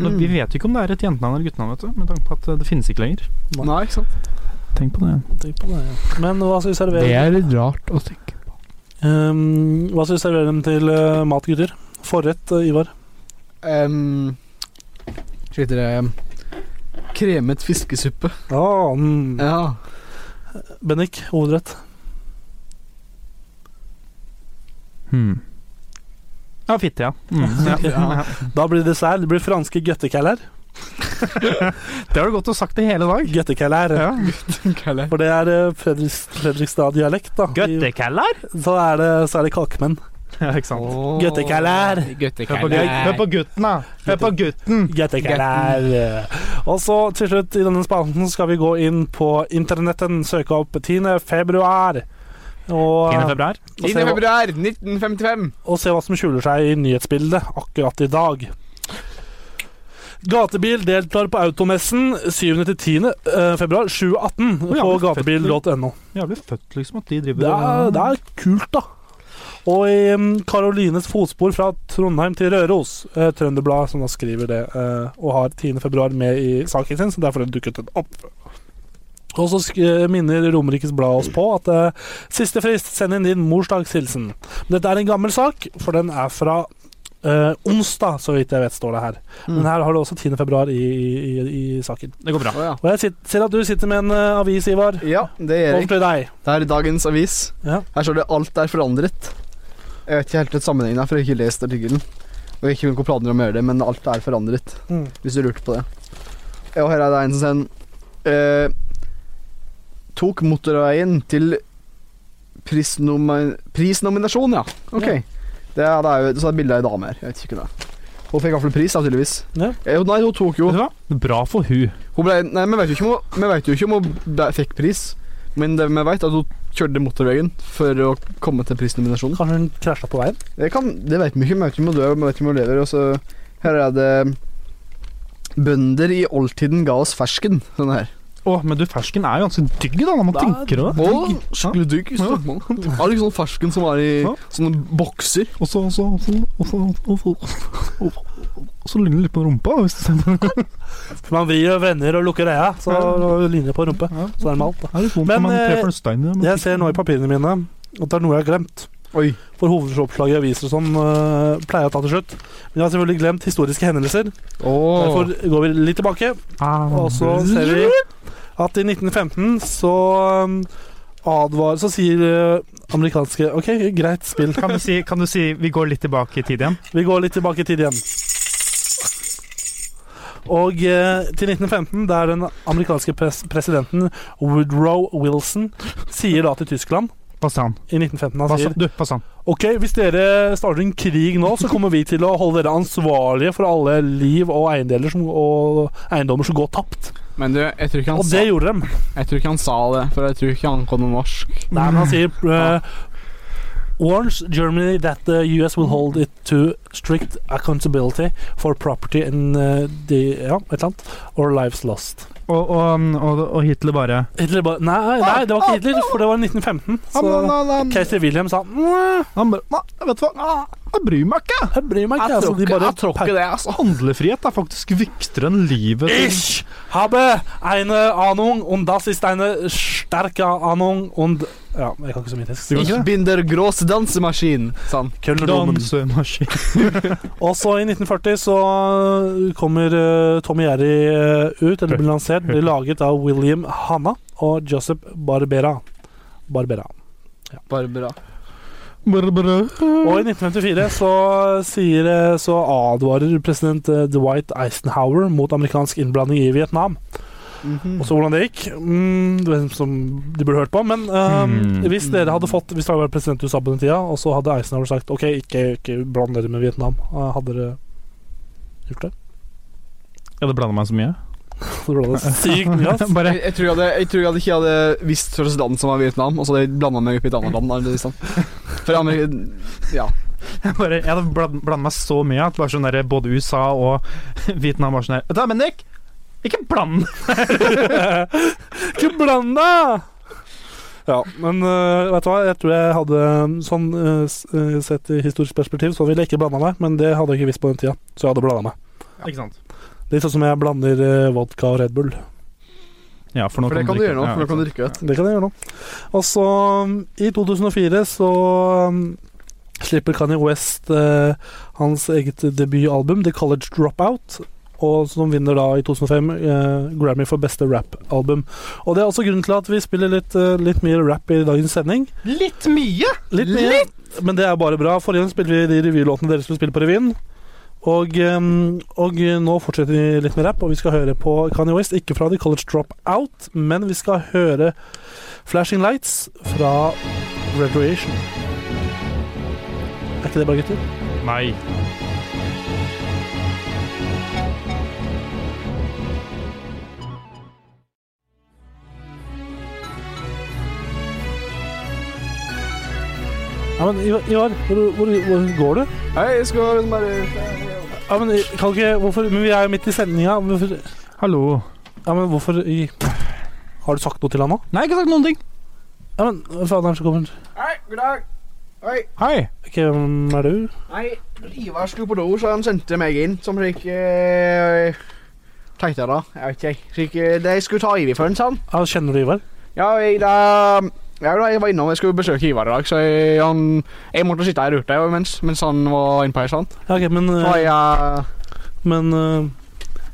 nå, Vi vet jo ikke om det er et jentenavn eller guttenavn, vet du, med tanke på at eh, det finnes ikke lenger.
Nei, ikke sant?
Tenk på det.
så tenk på det, ja. Men hva skal vi servere?
litt rart å tenke på.
Ehm, hva skal vi servere dem til eh, mat, gutter? Forrett, eh, Ivar?
Slik dere Kremet fiskesuppe.
Oh, mm.
Ja.
Bennik, hovedrett.
Hmm. Ja, fitte, ja. Mm. ja.
Ja. Da blir det dessert. Det blir franske gøttekaller.
Det har du godt å sagt i hele dag.
Gøttekaller.
Ja.
For det er eh, Fredriks, Fredrikstad-dialekt, da. I-
Gøttekallar?
Så er det, så er det kalkmenn.
ja, ikke sant.
Gøttekaller.
Hør på, gu- hør på gutten, da. Hør på gutten.
Gøttekalær. Og så til slutt i denne spalten skal vi gå inn på internetten, søke opp 10. februar. Og,
10. februar.
10.
og,
altså,
se, hva-
februar 1955.
og se hva som skjuler seg i nyhetsbildet akkurat i dag. Gatebil deltar på Automessen 7.-10. eh, februar 2018
ja,
på gatebil.no.
Jævlig født, liksom, at de
Det
driver
er, det er kult, da. Og i mm, Karolines fotspor fra Trondheim til Røros, eh, Trønderblad, som da skriver det, eh, og har 10. februar med i saken sin, så derfor dukket den opp. Og så sk eh, minner Romerikes Blad oss på at eh, siste frist, send inn din morsdagshilsen. Men Dette er en gammel sak, for den er fra eh, onsdag, så vidt jeg vet, står det her. Men her har du også 10. februar i, i, i, i saken.
Det går bra.
Å, ja.
Og jeg sit- ser at du sitter med en eh, avis, Ivar.
ja, det gjør jeg.
Over til deg.
Det er dagens avis.
Ja.
Her står det 'alt er forandret'. Jeg vet ikke helt hva sammenhengen er, for jeg har ikke lest artikkelen. Og ikke noen planer om å gjøre det, men alt er forandret,
Mm.
hvis du lurte på det. Og her er det en som sier eh, Tok motorveien til prisnoma- prisnominasjon, ja. Ok. Det er, det er jo så er det bilde av ei dame her. Jeg vet ikke hva det er. Hun fikk iallfall pris, da, tydeligvis.
Ja.
Eh, Nei, hun tok jo
Vet du hva? Bra for hun.
hun ble, nei, Vi vet jo ikke om hun, vi vet jo ikke om hun ble, fikk pris, men det vi vet, er at hun kjørte motorveien for å komme til prisnominasjonen.
Kanskje hun krasja på veien?
Det, kan, det vet vi ikke. Vi vet ikke om hun dør, vi vet ikke om hun lever. Og så her er det Bønder i oldtiden ga oss fersken. Sånn her.
Å, men du, fersken er jo ganske digg, da, når man tenker over det.
Og skikkelig digg. i Stockholm. Er det ikke sånn fersken som er i
Ja.
sånne bokser?
Og så, og så, og så, og så, og så, og så, og så ligner det litt på rumpa, hvis du ser på det.
For man vrir jo venner og lukker øya, så ligner det på rumpe.
Ja.
Så er det med alt, da.
Det er litt vondt
Men,
når man
eh,
treffer en stein i det. men-
Jeg ser nå i papirene mine at det er noe jeg har glemt.
Oi.
For hovedoppslaget i aviser og sånn øh, pleier jeg å ta til slutt. Men jeg har selvfølgelig glemt historiske hendelser.
Oh.
Derfor går vi litt tilbake,
Ah.
og så ser vi at i 1915 så øh, advar... Så sier øh, amerikanske OK, greit spill.
Kan du, si, kan du si vi går litt tilbake i tid igjen?
Vi går litt tilbake i tid igjen. Og eh, til 1915, der den amerikanske pres presidenten Woodrow Wilson sier da til Tyskland
Passan.
i 1915 Han sier
Du, Passan.
OK, hvis dere starter en krig nå, så kommer vi til å holde dere ansvarlige for alle liv og eiendeler som, og eiendommer som går tapt.
Men du, jeg tror, ikke han
Og
sa,
det gjorde dem.
jeg tror ikke han sa det, for jeg tror ikke han kan noe norsk.
Nei, men han sier eh, Warns Germany that the US will hold it to strict accountability for property and eh, the Ja, et eller annet. Or lives lost.
Og, og, um, og, og Hitler bare
Hitler bare Nei, nei, det var ikke Hitler, for det var 1915. Så Keiser Wilhelm sa «Mwah,
Han bare «Nei, Vet du hva, Ah, jeg bryr meg ikke!
Jeg bryr meg ikke.
Jeg
Altså,
tror
de
ikke-
bare
jeg tror ikke det, altså.
Handlefrihet er faktisk viktigere enn livet. til-
Ich habe eine Ahnung, und das ist eine starke Ahnung, und Ja, jeg kan ikke så mye tysk.
Du kan
Ich
ikke det?
bin der gross dansemaskin, sa han.
Kølnromen.
Dansemaskin.
Og så i 1940 så kommer eh, Tommy Jerry eh, ut, eller blir lansert. Blir laget av William Hanna og Joseph Barbera. Barbera.
Barbara.
Og i 1954 så, sier, eh, så advarer president eh, Dwight Eisenhower mot amerikansk innblanding i Vietnam. Mhm. Og så hvordan det gikk, mm, det var som de burde hørt på. Men eh,
Mm.
hvis dere hadde fått Hvis det hadde vært president i USA på den tida, og så hadde Eisenhower sagt OK, ikke, ikke bland dere med Vietnam, eh, hadde dere gjort det?
Jeg hadde blanda meg så mye.
Så ble det sykt mye, ass.
Bare
Jeg, jeg, tror jeg, hadde, jeg tror jeg hadde ikke hadde visst hvilket land som var Vietnam, og så hadde jeg blanda meg opp i et annet land. eller liksom. For Amerika, ja.
bare, jeg hadde bland- blandet meg så mye at bare sånn der, både USA og Vietnam var sånn der «Vet du hva, Bendik! Ikke bland
Ikke bland deg! Ja, men øh, vet du hva, jeg tror jeg hadde øh, sånn øh, s- øh, sett i historisk perspektiv, så ville jeg ikke blanda meg, men det hadde jeg ikke visst på den tida, så jeg hadde blanda meg.
Ikke sant?
Litt sånn som jeg blander øh, vodka og Red Bull.
Ja, for nå
For det kan du gjøre nå. for nå kan du
drikke.
drikke ut.
Det kan jeg gjøre nå. Og så, um, i 2004, så um, slipper Kanye West eh, hans eget debutalbum, The College Dropout. og som vinner da i 2005 eh, Grammy for beste rap-album. Og det er også grunnen til at vi spiller litt, eh, litt mer rap i dagens sending.
Litt mye!
Litt mye, men det er bare bra. Forrige gang spilte vi de revylåtene dere skulle spille på revyen. Og, ehm, og nå fortsetter vi litt med rapp, og vi skal høre på Kanye West. Ikke fra The College Drop Out, men vi skal høre Flashing Lights fra Recreation. Er ikke det bra, gutter?
Nei.
Ja, men Ivar, Ivar, hvor, hvor, hvor går du?
Nei, jeg skal liksom bare
Ja, men kan ikke Hvorfor Men vi er jo midt i sendinga. Hvorfor
Hallo.
Ja, men hvorfor i Har du sagt noe til han nå?
Nei, ikke sagt noen ting.
Ja, men faderen som kommer
Hei, god dag. Hei.
Hei.
Hvem er du?
Nei, Ivar skulle på do, så han sendte meg inn som slik eh, Tenkte jeg da. Jeg vet ikke, jeg. Slik eh, det jeg skulle ta Ivi for en sånn.
Ja, kjenner du Ivar?
Ja, jeg da ja, da, jeg var innom, jeg skulle besøke Ivar i dag, så jeg, han, jeg måtte sitte her ute mens, mens han var inne på her. sant?
Ja, ok, men,
Så
eh,
jeg,
men eh,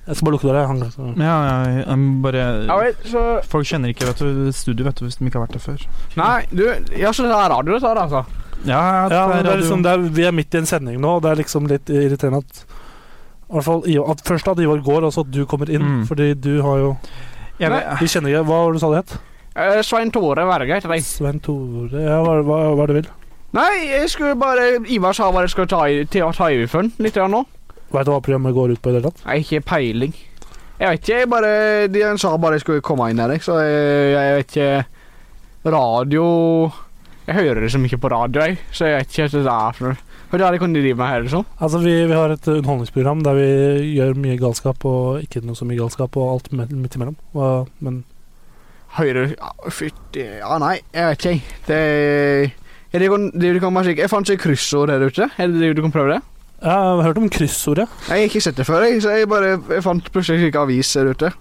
Jeg skal bare lukke døra. jeg, Han kan
Ja, ja, jeg må
ja,
bare
vet, så,
Folk kjenner ikke vet du, studio vet du, hvis de ikke har vært der før.
nei, du, ja, så det er radio dette her, altså.
Ja,
Ja, men det er
radio.
liksom, det er, vi er midt i en sending nå, og det er liksom litt irriterende at i hvert fall, Ivar- at Først at Ivar går, og så at du kommer inn.
Mm.
Fordi du har jo
Jeg vet-
Vi kjenner ikke Hva var det du sa det het?
Eh, Svein Tore Verge heter jeg.
Svein Tore Ja, hva, hva, hva er det du vil?
Nei, jeg skulle bare Ivar sa bare jeg skulle ta, i- til å ta Ivi for han litt grann nå.
Veit du hva programmet går ut på i det hele tatt?
Nei, ikke peiling. Jeg vet ikke, jeg bare De han sa bare jeg skulle komme inn her, jeg, så jeg, jeg vet ikke Radio Jeg hører liksom ikke på radio, jeg, så jeg vet ikke hva det er for noe. Hva er det de kunne drive med her, liksom?
Altså, vi, vi har et underholdningsprogram der vi gjør mye galskap og ikke noe så mye galskap, og alt me- midt imellom. Hva- Men
Høyre ja, Fytti Ja, nei, jeg vet ikke, jeg. Det er det, kan- det du kan bare sjekke. Jeg fant ikke kryssord her ute. Er det det du kan prøve det?
jeg har hørt om kryssordet.
Nei, Jeg har ikke sett det før, jeg, så jeg bare jeg fant plutselig ikke avis her ute.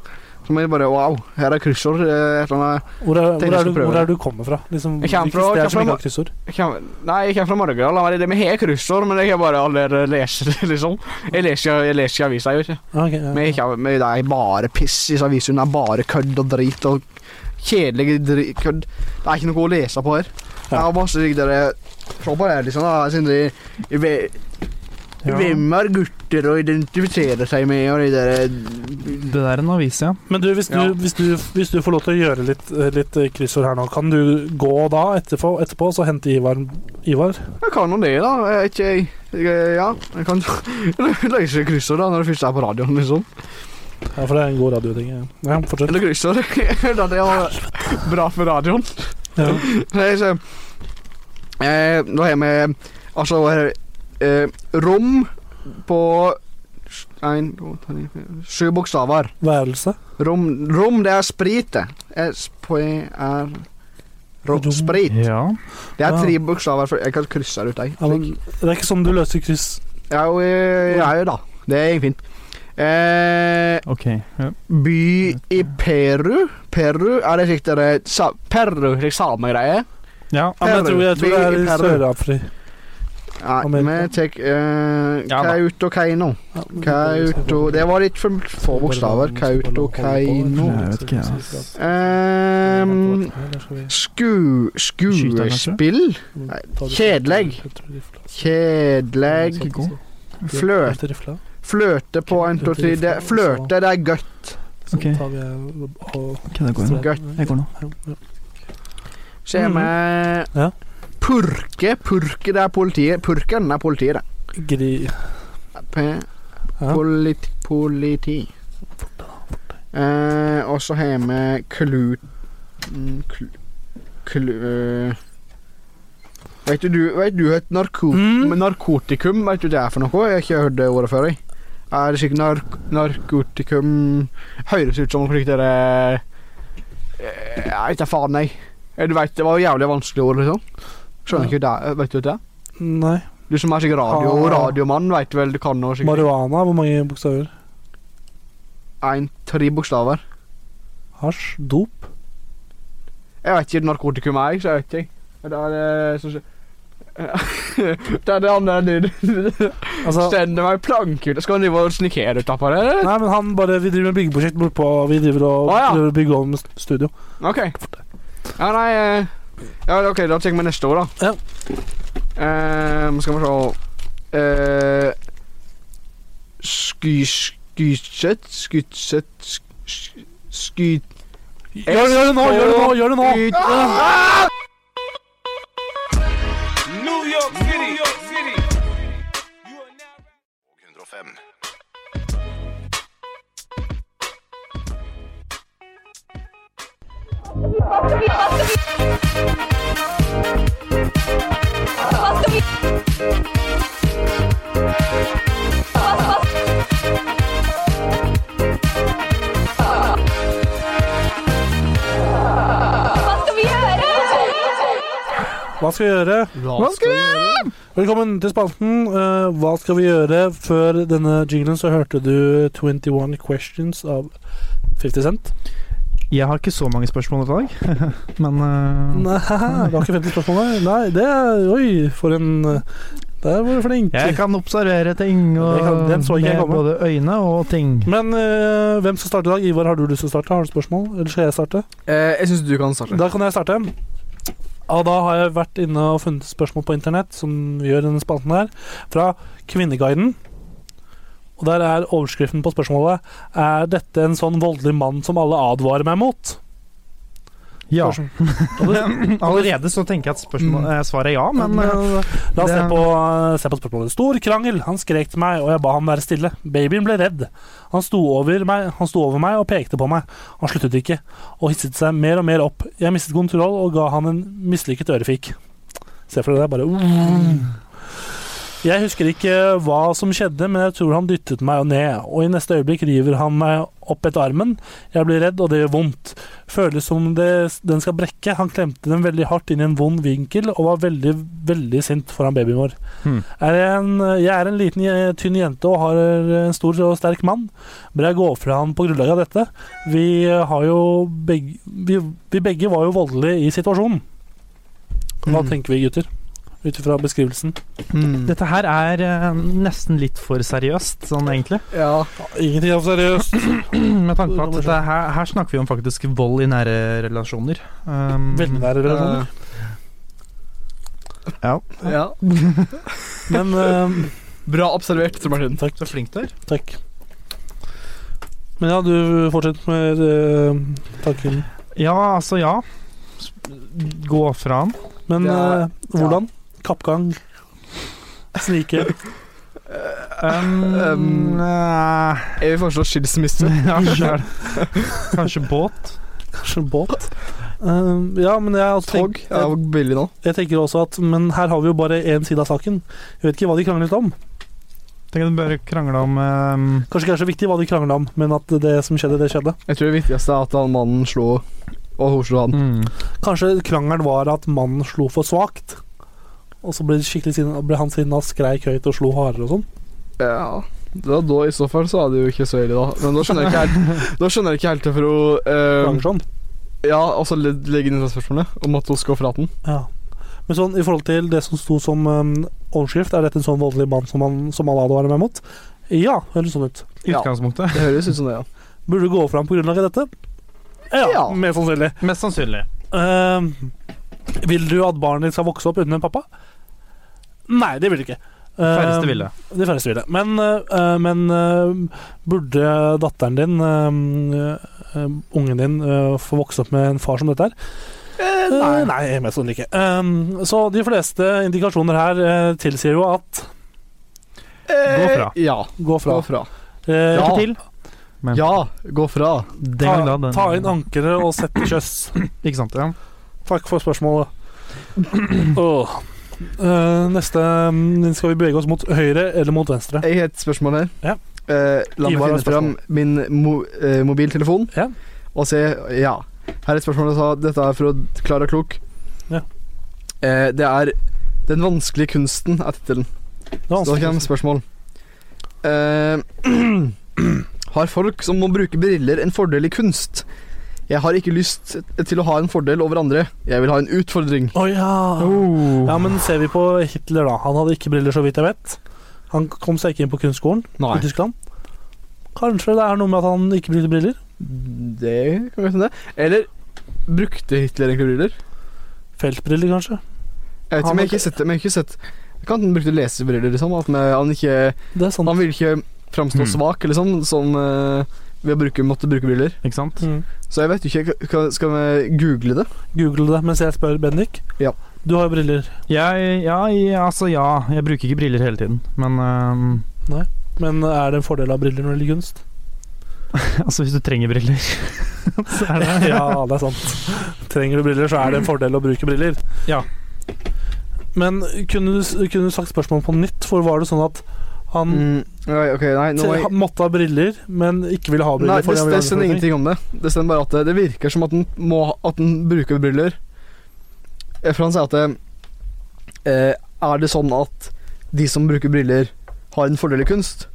Så må jeg bare Wow, her er kryssord. eh, Et eller annet.
Hvor er, hvor
Tenkte jeg
er,
skulle
du,
prøve
hvor
det.
er du kommer fra? Liksom,
Jeg kommer
hvilke
fra-
steder
jeg
som ikke
kommer
har kryssord?
Jeg kan, nei, jeg kommer fra Margerdal. La meg redde. Vi har kryssord, men jeg har bare aldri lest det, liksom. Jeg leser, jeg leser ikke avisa, jeg vet ikke.
Ah, ok, ja.
Men jeg har- men det er bare piss. Disse avisene er bare kødd og drit og kjedelig dri- kødd. Det er ikke noe å lese på her. Jeg har masse slik der Se på det her, liksom. da, siden de- ve-
Ja.
Hvem er gutter å identifisere seg med, og de der
Det der er en avis, ja.
Men du, hvis du,
Ja.
hvis, du, hvis du får lov til å gjøre litt, eh, litt kryssord her nå, kan du gå da etterpå, etterpå så hente Ivar, Ivar?
Jeg kan jo det, da. Jeg, vet ikke, jeg, jeg, ja, jeg kan løse kryssord da, når det først er på radioen, liksom.
Ja, for det er en god radioting. ja. Ja, fortsett.
Eller kryssord. da det var bra for radioen.
Ja.
Nei, så eh, Nå har vi altså eh, rom på s- en, to, tre, fire, sju bokstaver.
Værelse.
Rom, rom, det er sprit, det. S-P-R
Rom.
Rom, sprit.
ja.
Det er tre
Ja.
bokstaver. For jeg kan krysse det ut, jeg.
Ja, men det er ikke sånn du løser kryss.
Ja, jo, eh, ja, jo da. Det er fint. Eh,
Ok. Ja.
by i Peru. Peru er det slik dere sa, Peru, slik samegreie.
Ja,
ja.
men jeg tror, jeg tror det er i
Peru.
Sør-Afri.
Nei,
Amerika.
vi tar eh,
Ja da.
Kautokeino.
Ja, men-
Kauto Det var litt for få bokstaver. Kautokeino
Nei, jeg vet ikke, ja.
Ehm, Sku... Skuespill? Kjedelig. Kjedelig Fløt.
Fløt.
Fløte på en, to, tre det, Fløte, det er godt.
Ok. Ok, det går nå. Jeg går nå.
Se med
Ja.
Purke. Purke, det er politiet. Purken er politiet, det.
Gri...
P
Ja.
Polit, politi. Eh, og så har vi klu... mm, klu- Klu... eh, Vet du, du, vet du hva et narko
Mm.
narkotikum Vet du det er for noe? Jeg har ikke hørt det ordet før. Jeg. Er det sikkert nark narkotikum Høres ut som slik dere eh, Jeg vet da faen, jeg. Eh, Du vet, det var jo jævlig vanskelig ord, liksom. Skjønner ikke det. Vet du det?
Nei.
Du som er sikkert radio,
Ah.
radiomann, vet vel du kan noe sikkert.
Marihuana, hvor mange bokstaver?
Én, tre bokstaver.
Hasj? Dop?
Jeg vet ikke narkotikum er, jeg, så jeg vet ikke. Det er, eh, sånn som-
Denne andre dude altså, Sender meg plankehjul. Skal han drive og snikere ut av på det? eller?
Nei, men han bare Vi driver med byggeprosjekt bortpå, og vi driver og
Å, ja.
prøver å bygge om studio.
Ok. Ja, nei eh, Ja, ok, da tenker vi neste år, da.
Ja.
Eh, skal vi se eh, Sky... Skysett Skysett sk- sk- Sky...
Gjør, det- gjør det nå! Gjør det nå! Gjør det nå!
New York City. New York City.
105.
Hva skal vi gjøre?
Hva skal vi gjøre?
Velkommen til spalten. eh, hva skal vi gjøre? Før denne jinglen så hørte du 21 Questions av 50 Cent.
Jeg har ikke så mange spørsmål i dag, men eh,
Nei, det var ikke 50 spørsmål, nei. nei. Det er Oi, for en eh, Der var du flink.
jeg kan observere ting og
Det kan- den så ikke jeg
med
komme.
både øyne og ting.
Men eh, hvem skal starte i dag? Ivar, har du lyst til å starte? Har du spørsmål? Eller skal jeg starte?
Eh, jeg syns du kan starte.
Da kan jeg starte. Og da har jeg vært inne og funnet spørsmål på internett, som vi gjør i denne spalten her, fra Kvinneguiden. Og der er overskriften på spørsmålet Er dette en sånn voldelig mann som alle advarer meg mot?
Ja.
Spørsmål.
Allerede så tenker jeg at spørsmål, eh, svaret er ja, men
Men, eh,
eh,
la oss se
det-
på, se på spørsmålet. Stor krangel. Han skrek til meg, og jeg ba ham være stille. Babyen ble redd. Han sto over meg, han sto over meg og pekte på meg. Han sluttet ikke, og hisset seg mer og mer opp. Jeg mistet kontroll og ga han en mislykket ørefik. Se for deg det, bare uh. Jeg husker ikke hva som skjedde, men jeg tror han dyttet meg ned, og i neste øyeblikk river han meg opp etter armen. Jeg blir redd, og det gjør vondt. Føles som det, den skal brekke. Han klemte den veldig hardt inn i en vond vinkel og var veldig, veldig sint foran babyen vår.
Hmm.
Er jeg, en, jeg er en liten, je- tynn jente og har eh, en stor og sterk mann. Bør jeg gå fra han på grunnlag av dette? Vi eh, har jo begge Vi, vi begge var jo voldelige i situasjonen. Hva
Mm.
tenker vi, gutter? Ut ifra beskrivelsen.
Hmm.
dette her er eh, nesten litt for seriøst, sånn egentlig.
Ja.
Ingenting er seriøst.
Med tanke på at dette, her, her snakker vi om faktisk vold i nære relasjoner. Um,
Veldig nære relasjoner.
Ja.
ja.
Men eh,
Bra observert, Tor Martin.
Takk.
Så flink du er.
Takk. Men ja, du fortsetter med uh, tanken.
Ja, altså ja. S- Gå fra han.
Men
Det er-
eh, hvordan? Kappgang? Snike?
Um,
Um,
eh,
Eh, Jeg vil foreslå skilsmisse.
ja, sjøl. Kanskje båt.
Kanskje båt? Eh, ja, men jeg, også
Tog
tenk,
er
jeg,
billig nå.
jeg tenker også at Men her har vi jo bare én side av saken. Jeg vet ikke hva de kranglet om.
Tenk at du bare krangla om um,
Kanskje ikke er så viktig hva de krangla om, men at det som skjedde, det skjedde.
Jeg tror det viktigste er at han mannen slo og hun slo han.
mm.
Kanskje krangelen var at mannen slo for svakt. Og så ble, de skikkelig sinna- ble han sinna, skreik høyt og slo hardere og sånn.
Ja da, da I så fall så er det jo ikke så ille, da. Men da skjønner jeg ikke helt Da skjønner jeg ikke helt hvorfor hun
Krangler
eh,
sånn.
Ja, altså le- legge inn det spørsmålet om at hun skal fra den.
Ja. Men sånn, i forhold til det som sto som um, overskrift, er dette en sånn voldelig mann som, man, som alle advarer meg mot? Ja, høres sånn ut.
I utgangspunktet.
Det høres ut som det, ja.
Burde du gå fram på grunnlag av dette? Ja,
Ja.
mest sannsynlig.
Mest sannsynlig.
Ehm, vil du at barnet ditt skal vokse opp uten en pappa? Nei, det vil du ikke.
Færreste
Ehm,
ville.
De færreste ville. Men, eh, men eh, burde datteren din, eh, eh, ungen din, eh, få vokse opp med en far som dette her?
Eh,
nei. nei, mest sannsynlig ikke. Ehm, så de fleste indikasjoner her eh, tilsier jo at
Gå fra.
Eh, Ja,
gå fra.
gå fra.
Eh,
Ja.
Lykke til.
Ja, gå fra.
Den gang
ta,
da, den-
ta inn ankeret og sett i kjøss.
Ikke sant. Ja.
Takk for spørsmålet. Åh. Eh, neste mm, Skal vi bevege oss mot høyre eller mot venstre?
Jeg har et spørsmål her.
Ja.
Eh, la meg
Ivar har
finne
et
fram min mo eh, mobiltelefon
Ja.
og se Ja. Her er et spørsmål jeg sa. Dette er fra Klara Klok.
Ja.
Eh, det er 'Den vanskelige kunsten' er tittelen.
Det var
Så da kommer
vanskelig.
spørsmål. Eh, har folk som må bruke briller, en fordel i kunst? Jeg har ikke lyst til å ha en fordel over andre. Jeg vil ha en utfordring.
Å ja.
Oh.
ja, men ser vi på Hitler, da. Han hadde ikke briller, så vidt jeg vet. Han kom seg ikke inn på kunstskolen i Tyskland. Kanskje det er noe med at han ikke brukte briller?
Det kan vi hende. Eller brukte Hitler egentlig briller?
Feltbriller, kanskje.
Jeg vet ikke,
Han
men
hadde-
jeg har ikke sett det. Men jeg har ikke sett jeg kan han brukte lesebriller, liksom. At med, han ikke
Sånn-
Han ville ikke framstå svak, eller sånn, som eh, ved å bruke, måtte bruke briller.
Ikke sant?
Så jeg vet jo ikke Skal, skal vi google det?
Google det mens jeg spør Bendik.
Ja.
Du har jo briller.
Jeg, ja, jeg, altså ja. Jeg bruker ikke briller hele tiden, men ehm,
Nei. Men er det en fordel av briller når det gjelder kunst?
altså hvis du trenger briller, så er det
ja, det er sant. Trenger du briller, så er det en fordel å bruke briller.
Ja.
Men kunne du, s- kunne du sagt spørsmålet på nytt, for var det sånn at han
Nei, ok, nei, Mm, nå må jeg-
han måtte ha briller, men ikke ville ha briller?
Nei, det,
fordi han ville
det
ha
stender
briller.
ingenting om det. Det stender bare at det, det virker som at den, må, ha- at den bruker briller. Eh, For han sier at det, eh, Er det sånn at de som bruker briller, har en fordel i kunst?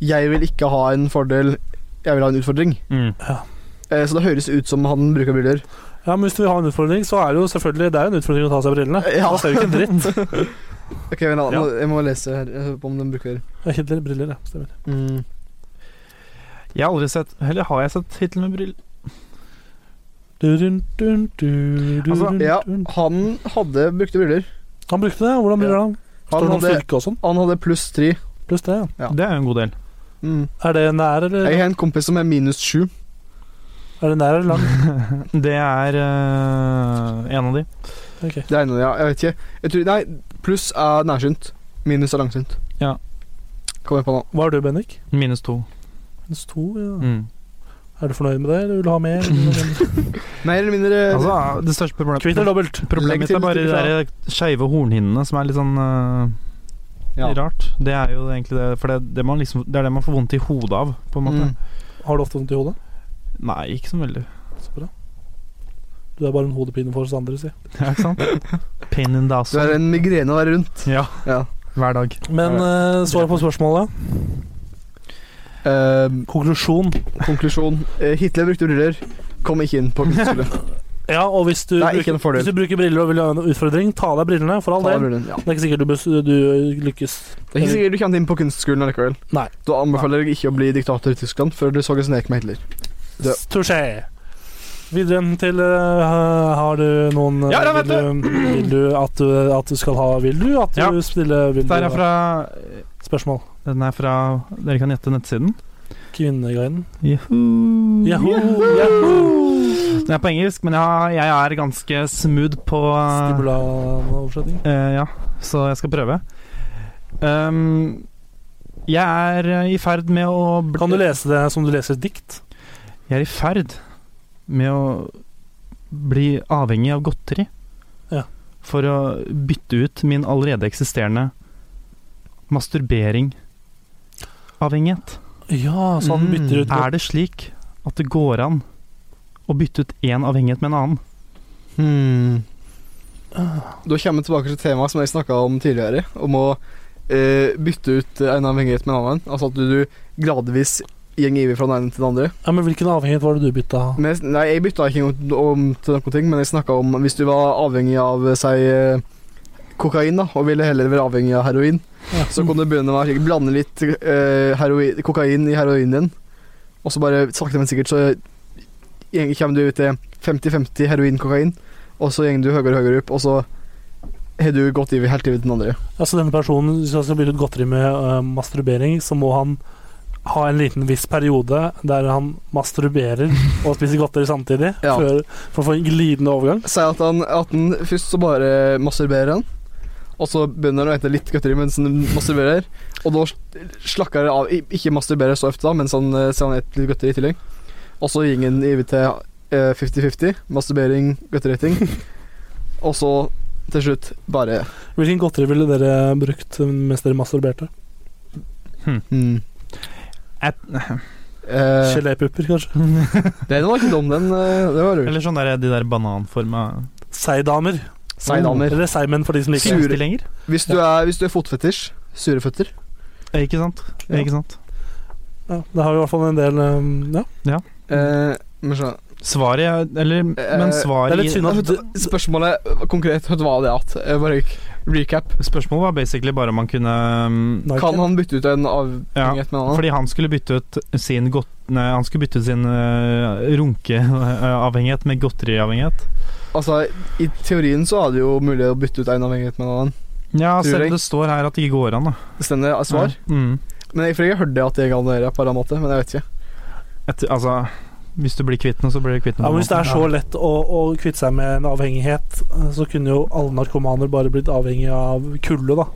Jeg vil ikke ha en fordel, jeg vil ha en utfordring.
Mm.
Ja.
Eh, så det høres ut som han bruker briller.
Ja, men hvis du vil ha en utfordring, så er det jo selvfølgelig Det er jo en utfordring å ta av seg brillene.
Ja.
Da ser du ikke en dritt.
Ok, vent da, nå-
Ja.
Jeg må lese her eh, om den bruker
Ja, Hitler briller, ja. Stemmer.
Jeg har aldri sett Eller har jeg sett Hitler med briller?
Du, dun, dun, du, du,
Altså,
dun,
ja,
dun.
han hadde brukte briller.
Han brukte det? Hvordan briller han? Står
Han
det noe om
hadde-
fylke og sånn?
Han hadde pluss tre.
Pluss tre, ja.
Ja.
Det er jo en god del.
Mm.
Er det nær eller
Jeg har en kompis som er minus sju.
Er det nær eller lang?
Det er eh, en av de.
Det er en av de, ja. Jeg vet ikke. Jeg tror, nei, pluss er nærsynt. Minus er langsynt.
Ja.
Kom igjen på nå.
Hva er du, Bendik?
Minus to.
Minus to, ja.
Mm.
Er du fornøyd med det, eller vil du ha mer?
Mer eller mindre
Altså, det største problemet
Kvitt eller dobbelt?
Legg
Problemet mitt
til
er bare de
litt
der skeive hornhinnene som er litt sånn eh,
Ja.
rart. Det er jo egentlig det, for det, det, man liksom, det er det man får vondt i hodet av, på en måte.
Mm.
Har du ofte vondt i hodet?
Nei, ikke så veldig.
Så bra. Du er bare en hodepine for oss andre, si.
Ja, ikke sant? Pain in the ass.
Du er en migrene å være rundt.
Ja,
Ja.
hver dag.
Men eh, svar på spørsmålet.
Eh,
Konklusjon.
konklusjon. Eh, Hitler brukte briller. Kom ikke inn på kunstskole.
Ja, og hvis du,
Det er ikke
bruker,
en fordel.
hvis du bruker briller og vil ha en utfordring, ta av deg brillene, for all
Ta
del.
brillene, ja.
Det er ikke sikkert du, bes- du lykkes.
Det er ikke sikkert du kommer inn på kunstskolen allikevel.
Nei.
Da anbefaler jeg ikke å bli diktator i Tyskland før du så en snek med Hitler. Det-
Touché. Videre til eh, Har du noen eh,
Ja, da vet
vil, du, vil du at du at du skal ha Vil du at du
Ja.
stiller vil
Der
du,
er fra
spørsmål?
Den er fra Dere kan gjette nettsiden.
Kvinneguiden.
Yahoo!
Yahoo!
Den er på engelsk, men jeg, har- jeg er ganske smooth på eh,
Stibula-oversetting.
Eh, ja, så jeg skal prøve. Ehm, jeg er eh, i ferd med å bli
Kan du lese det som du leser et dikt?
Jeg er i ferd med å bli avhengig av godteri
Ja.
for å bytte ut min allerede eksisterende masturbering-avhengighet.
Ja, så han
Mm.
bytter ut
Er det slik at det går an å bytte ut én avhengighet med en annen?
Da kommer vi tilbake til temaet som jeg snakka om tidligere, om å eh, bytte ut en avhengighet med en annen. Altså at du, du gradvis går over fra den ene til den andre.
Ja, men Hvilken avhengighet var det du bytta?
Men jeg, nei, jeg bytta ikke om, om til noen ting, men jeg snakka om hvis du var avhengig av si eh, kokain, da, og ville heller være avhengig av heroin,
Ja.
så kan du begynne med å blande litt eh, heroin, kokain i heroinen din, og så bare sakte, men sikkert så egentlig kommer du ut til 50-50 heroin-kokain, og så går du høyere og høyere opp, og så har du gått over helt over til den andre.
Altså denne personen Hvis han skal bytte ut godteri med eh, masturbering, så må han ha en liten viss periode der han masturberer og spiser godteri samtidig,
Ja.
før, for å få en glidende overgang.
Si at han, at han først så bare masturberer han, og så begynner han å hente litt godteri mens han masturberer, og da slakker han av i- Ikke masturberer så ofte, da, mens han eh, ser han et litt godteri i tillegg. Og så går han over til eh, 50-50, masturbering, godteriting, og så til slutt bare
Hvilken godteri ville dere brukt mens dere masturberte?
hmm.
Et,
eh,
Gelépupper, kanskje?
Den var ikke dum, den. eh, Det var lurt.
eller sånn der, de der bananforma
Seidamer.
Seidamer.
Eller seigmenn, for de som liker det.
Sure.
stillinger?
Hvis du er, hvis du er fotfetisj, sure føtter
Eh, Ikke sant? Eh, Ikke sant?
eh, Ja, det har vi i hvert fall en del um, Ja.
eh, men så,
Svaret Eller,
Eh,
men svaret i- altså,
Spørsmålet konkret hva det at eh, Bare recap.
Spørsmålet var basically bare om han kunne um,
Kan han bytte ut en avhengighet med en annen?
Fordi han skulle bytte ut sin godt... Nei, han skulle bytte ut sin eh, runkeavhengighet med godteriavhengighet.
Altså, I teorien så er det jo mulig å bytte ut en avhengighet med en annen.
Ja,
Tror
selv
jeg.
om det står her at det ikke går an, da.
Det stender eh, svar.
Ja. Mm.
Men jeg, for jeg hørte at det kan gjøre på en annen måte, men jeg vet ikke.
Et, altså, hvis du blir kvitt noe, så blir du kvitt noe.
Ja, men Hvis det er så lett å, å kvitte seg med en avhengighet, eh, så kunne jo alle narkomaner bare blitt avhengig av kulde, da.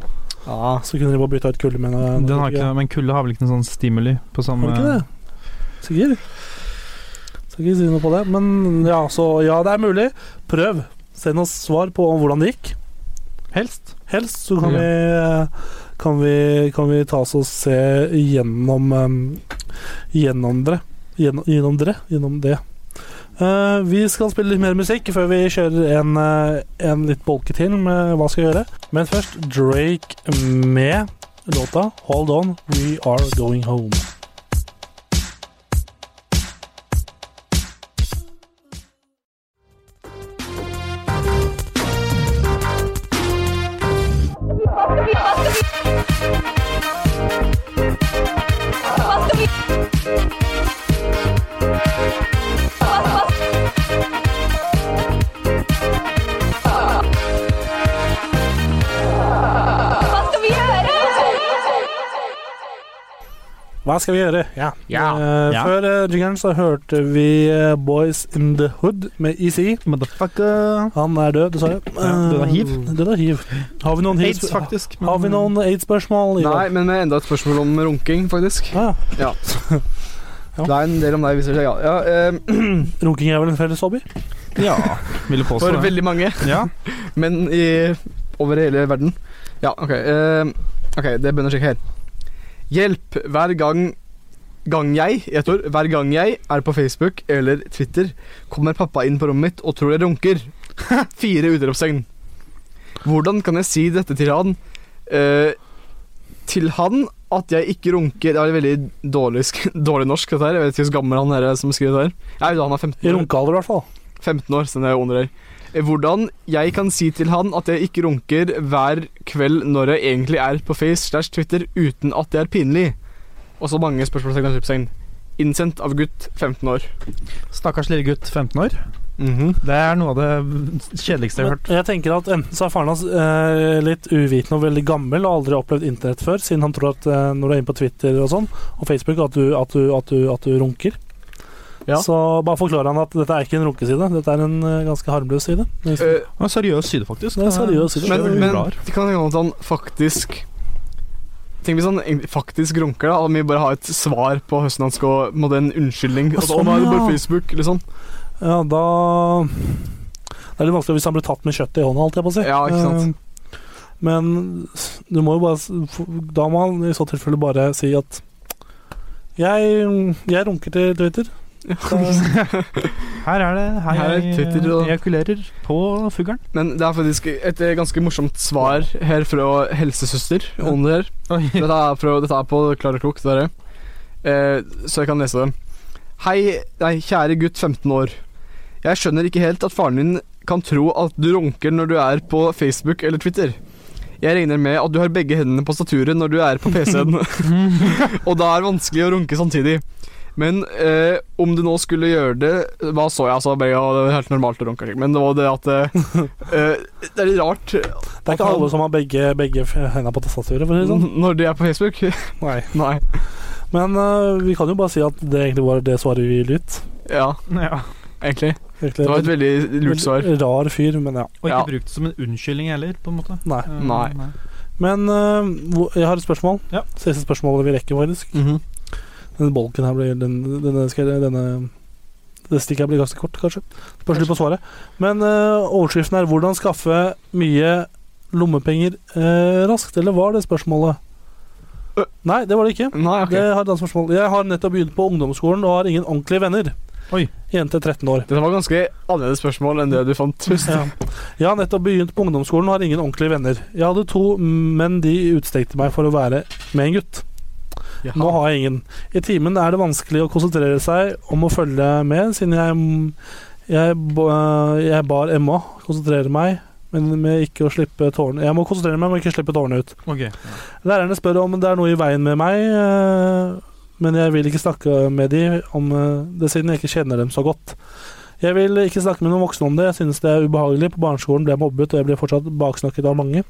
Så kunne de bare bytta ut kulde med noe.
Den har ikke, noe- men kulde har vel ikke noen sånn stimuli på samme
Har den ikke det? Sikker? Skal ikke si noe på det. Men ja, så ja, det er mulig. Prøv. Send oss svar på hvordan det gikk.
Helst.
Helst, så kan vi kan vi, kan vi ta oss og se gjennom em, gjennom dere. Gjennom, gjennom dere. Gjennom det. Eh, vi skal spille litt mer musikk før vi kjører en, eh, en litt bolke til med hva skal jeg gjøre. Men først Drake med låta 'Hold On We Are Going Home'. Hva skal vi gjøre? Ja. Eh,
Ja.
Før uh, jingeren så hørte vi eh, Boys in the Hood med EC.
Motherfucker.
Han er død, dessverre.
Ja, død av hiv.
Eh, Død av hiv. Har vi noen
Aids,
hiv-
faktisk.
Har vi noen aids-spørsmål?
Nei, men med enda et spørsmål om runking, faktisk.
Ja.
Det er en del om deg, viser det seg. Ja. Ja, eh,
Runking er vel en felles hobby?
Ja, vil du påstå
For
det?
veldig mange.
Ja.
Men i, over hele verden. Ja, OK. eh, ok, Det begynner å sjekke her. Hjelp hver gang Gang jeg i et ord, hver gang jeg er på Facebook eller Twitter, kommer pappa inn på rommet mitt og tror jeg runker. Fire utropstegn. Hvordan kan jeg si dette til han eh, Til han at jeg ikke runker Det er veldig dårlig, sk- dårlig norsk, dette her. Jeg vet ikke hvor gammel han er som skriver det her. Jeg vet, han er 15
I runkealder, i hvert fall.
15 år, så det er jo under her. Eh, Hvordan jeg kan si til han at jeg ikke runker hver kveld når jeg egentlig er på Face slash Twitter uten at det er pinlig. Og så mange spørsmålstegn og utropstegn. Innsendt av gutt 15 år.
Stakkars lille gutt, 15 år.
Mhm.
Det er noe av det kjedeligste jeg
Men
har hørt.
jeg tenker at Enten så er faren hans eh, litt uvitende og veldig gammel og aldri har opplevd internett før, siden han tror at eh, når du er inne på Twitter og sånn og Facebook, at du, at du, at du, at du runker.
Ja.
Så bare forklarer han at dette er ikke en runkeside, dette er en eh, ganske harmløs side.
Eh,
Det var seriøs side, faktisk.
Det er seriøs side.
men
Det er veldig
men
rar.
det kan hende at han faktisk Tenk hvis han egentlig faktisk runker, da, og vi bare har et svar på høsten han skal Må det en unnskyldning?
Ja,
At,
sånn,
å, nå er det
ja.
bare Facebook, eller sånn.
Ja, da Det er litt vanskelig hvis han blir tatt med kjøttet i hånda, holdt jeg på å si.
Ja, ikke sant.
Eh, Men du må jo bare s- Da må han i så tilfelle bare si at Jeg, jeg runker til Twitter.
Her er det Her,
Her er
jeg
Twitter og-
ejakulerer på fuglen.
Men det er faktisk et eh, ganske morsomt svar her fra helsesøster om det her. Dette er, fra, dette er på Klar og klok, det der. Eh, så jeg kan lese det. Hei, nei, kjære gutt 15 år. Jeg skjønner ikke helt at faren din kan tro at du runker når du er på Facebook eller Twitter. Jeg regner med at du har begge hendene på staturet når du er på PC-en. og da er det vanskelig å runke samtidig. Men eh, om du nå skulle gjøre det Hva så jeg, altså? Bare, ja, det er helt normalt å runke, sikkert, men det var det at eh, eh, Det er litt rart.
Det er ikke alle som har begge, begge hendene på tastaturet, for å si det sånn.
Når de er på Facebook?
Nei.
Nei.
Men eh, vi kan jo bare si at det egentlig var det svaret vi ville ut.
Ja,
Ja.
egentlig.
Egentlig.
Det var et veldig lurt svar.
Rar fyr, men ja.
Og ikke
Ja.
brukt det som en unnskyldning heller, på en måte.
Nei.
Eh,
Nei.
Men eh, hvor- jeg har et spørsmål.
Ja.
Siste spørsmålet vi rekker, faktisk.
Mhm.
Denne bolken her blir den, denne, skal, jeg- denne Det stikket her blir ganske kort, kanskje. Spørs litt på svaret. Men eh, overskriften er 'Hvordan skaffe mye lommepenger eh, raskt'. Eller var det spørsmålet? Nei, det var det ikke.
Nei, ok.
Det har et annet spørsmål. Jeg har nettopp begynt på ungdomsskolen og har ingen ordentlige venner.
Oi.
Jente 13 år.
Dette var ganske annerledes spørsmål enn det du fant.
Ja. Jeg har nettopp begynt på ungdomsskolen og har ingen ordentlige venner. Jeg hadde to, men de utstengte meg for å være med en gutt. Nå har jeg ingen. I timen er det vanskelig å konsentrere seg om å følge med, siden jeg, jeg, ba- jeg bar Emma konsentrere meg, men med ikke å slippe tårene Jeg må konsentrere meg, men ikke slippe tårene ut.
Ok.
Lærerne spør om det er noe i veien med meg, eh, men jeg vil ikke snakke med dem om eh, det, siden jeg ikke kjenner dem så godt. Jeg vil ikke snakke med noen voksne om det, jeg synes det er ubehagelig. På barneskolen ble jeg mobbet, og jeg blir fortsatt baksnakket av mange.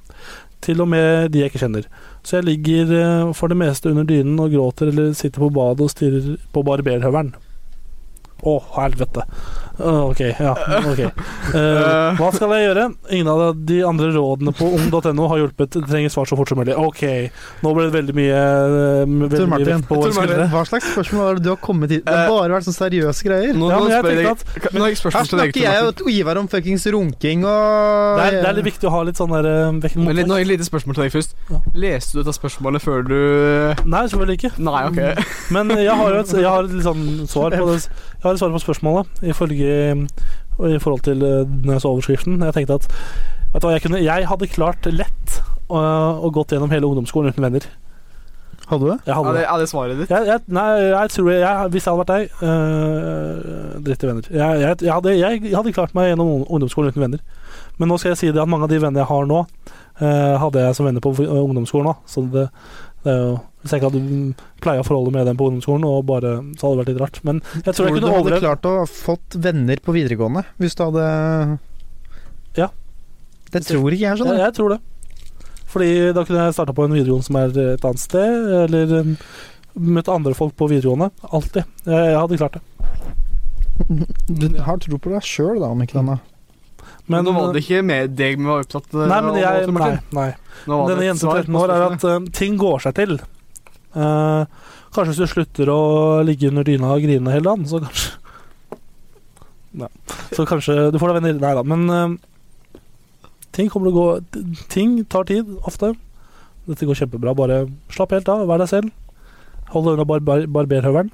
Til og med de jeg ikke kjenner. Så jeg ligger eh, for det meste under dynen og gråter eller sitter på badet og stirrer på barberhøvelen. Å, helvete. Å, ok, ja. ok. Eh, hva skal jeg gjøre? Ingen av de andre rådene på ung.no har hjulpet. Det trenger svar så fort som mulig. Ok, nå ble det veldig mye, eh, veldig
Tor
mye
Martin,
vekt på våre
Tor Martin,
skuldre. Eh,
hva slags spørsmål er det du har kommet hit? Det har bare vært sånne seriøse greier.
Nå- Ja, nå men jeg spør jeg- tenkte at- nå har jeg spørsmål
Her
til deg,
snakker
Tor
jeg
Martin.
og Ivar om fuckings runking og
Det er, det er litt viktig å ha litt sånn der eh, vekk
Men litt, nå, et lite spørsmål til deg først. Leste du dette spørsmålet før du
Nei, selvfølgelig ikke.
Nei,
Mm.
ok.
Men eh, jeg har jo et, jeg har et litt sånn svar på det. Jeg har et svar på spørsmålet ifølge og i forhold til eh, denne overskriften. Jeg tenkte at Vet du hva, jeg, kunne, jeg hadde klart lett å, å gått gjennom hele ungdomsskolen uten venner.
Hadde du det?
Jeg hadde
Er det,
det.
er det svaret ditt?
Jeg, jeg, nei, jeg tror jeg, jeg Hvis jeg hadde vært deg øh, Dritt i venner. Jeg, jeg, jeg, hadde, jeg, hadde klart meg gjennom ung- ungdomsskolen uten venner. Men nå skal jeg si det at mange av de vennene jeg har nå, øh, hadde jeg som venner på øh, ungdomsskolen òg. Så det, det er jo Hvis jeg ikke hadde pleia forholdet med dem på ungdomsskolen, og bare, så hadde det vært litt rart. Men jeg tror,
Tror
jeg
du du
kunne
hadde
overlevd.
klart å fått venner på videregående hvis du hadde
Ja.
Det tror ikke jeg, skjønner
Jeg, jeg tror det. Fordi da kunne jeg starta på en videregående som er et annet sted, eller um, møtt andre folk på videregående. Alltid. Jeg, jeg hadde klart det.
du. Du har tro på deg sjøl, da, om ikke denne.
Men nå var det ikke med deg vi var opptatt eh,
eh, Nei, men
av,
jeg,
Tor
nei,
Martin.
nei.
Nå var det
Denne
et
jenta på
svar
13
på
år er at eh, ting går seg til. Eh, kanskje hvis du slutter å ligge under dyna og grine hele dagen, så kanskje Nei. Så kanskje du får deg venner. Nei da, men eh, ting kommer til å gå Ting tar tid, ofte. Dette går kjempebra. Bare slapp helt av, vær deg selv. Hold deg unna bar bar barberhøvelen.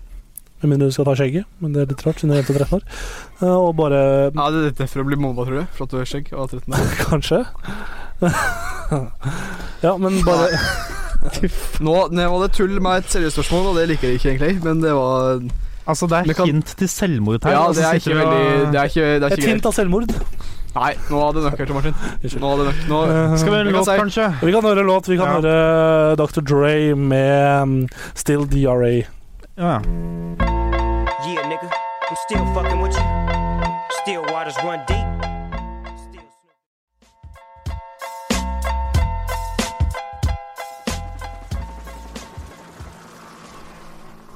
Med mindre du skal ta skjegget, men det er litt rart siden du er jente på 13 år. Eh, og bare
Ja, det er dette for å bli mobba, tror du? For at du har skjegg og er 13 år?
Kanskje. ja, men bare
Nå, nå var det tull med et seriøst spørsmål, og det liker jeg ikke egentlig, men det var
Altså, det er hint til selvmord her.
Ja,
og så
det er
altså, sitter du
ikke
og-
veldig Det er ikke, det er
Et
ikke
hint av selvmord.
Nei, nå hadde det nok hørt, Martin. Nå hadde det nok. Nå,
Eh,
jeg kan si-
Vi kan høre låt. Vi kan høre eh, Dr. Dre med um, Still DRA.
Ja.
Yeah, nigga, I'm still fucking with you. Still waters run deep.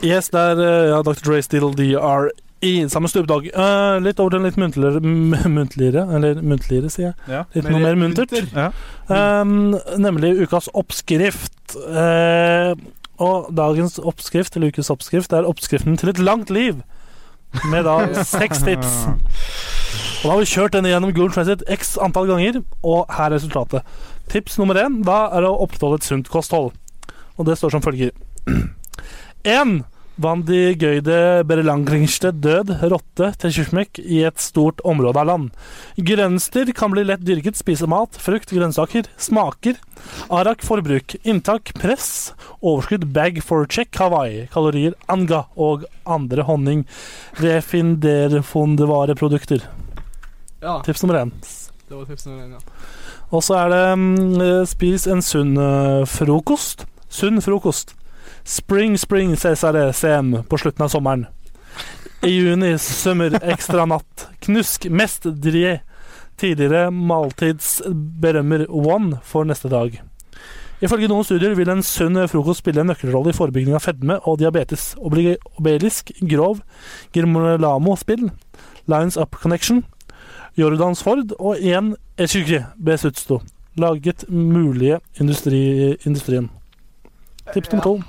Yes, det er uh, ja, Dr. Dre, Still DRE, sammen med Snoop Dogg. Uh, litt over til litt muntligere, m- muntligere Eller muntligere, sier jeg.
Ja.
Litt
Mer
noe mer muntert. Um, nemlig ukas oppskrift. Uh, og dagens oppskrift, eller ukes oppskrift, er oppskriften til et langt liv. Med da seks tips. Og da har vi kjørt denne gjennom Google Transit x antall ganger, og her er resultatet. Tips nummer én da er å opprettholde et sunt kosthold. Og det står som følger. 1. Van de Gøyde Berelangringste død, rotte, til kjørsmekk i et stort område av land. Grønster kan bli lett dyrket, spise mat, frukt, grønnsaker, smaker. Arak forbruk, inntak, press, overskudd, bag for check, Hawaii, kalorier, anga og andre honning. Refinderfondevareprodukter.
Ja.
Tips nummer én.
Det var tips nummer én, ja.
Og så er det mm, eh, spis en sunn eh, frokost. Sunn frokost. Spring, spring, CSRE, CM på slutten av sommeren. I juni, sømmer, ekstra natt. Knusk, mest drie. Tidligere maltidsberømmer one for neste dag. Ifølge noen studier vil en sunn frokost spille en nøkkelrolle i forebygging av fedme og diabetes. Obli- Obelisk, grov, Girmolamo-spill, Lines Up Connection, Jordans Ford og en Eshugri Besutsto. Laget mulige industri, industrien. Tips nummer to.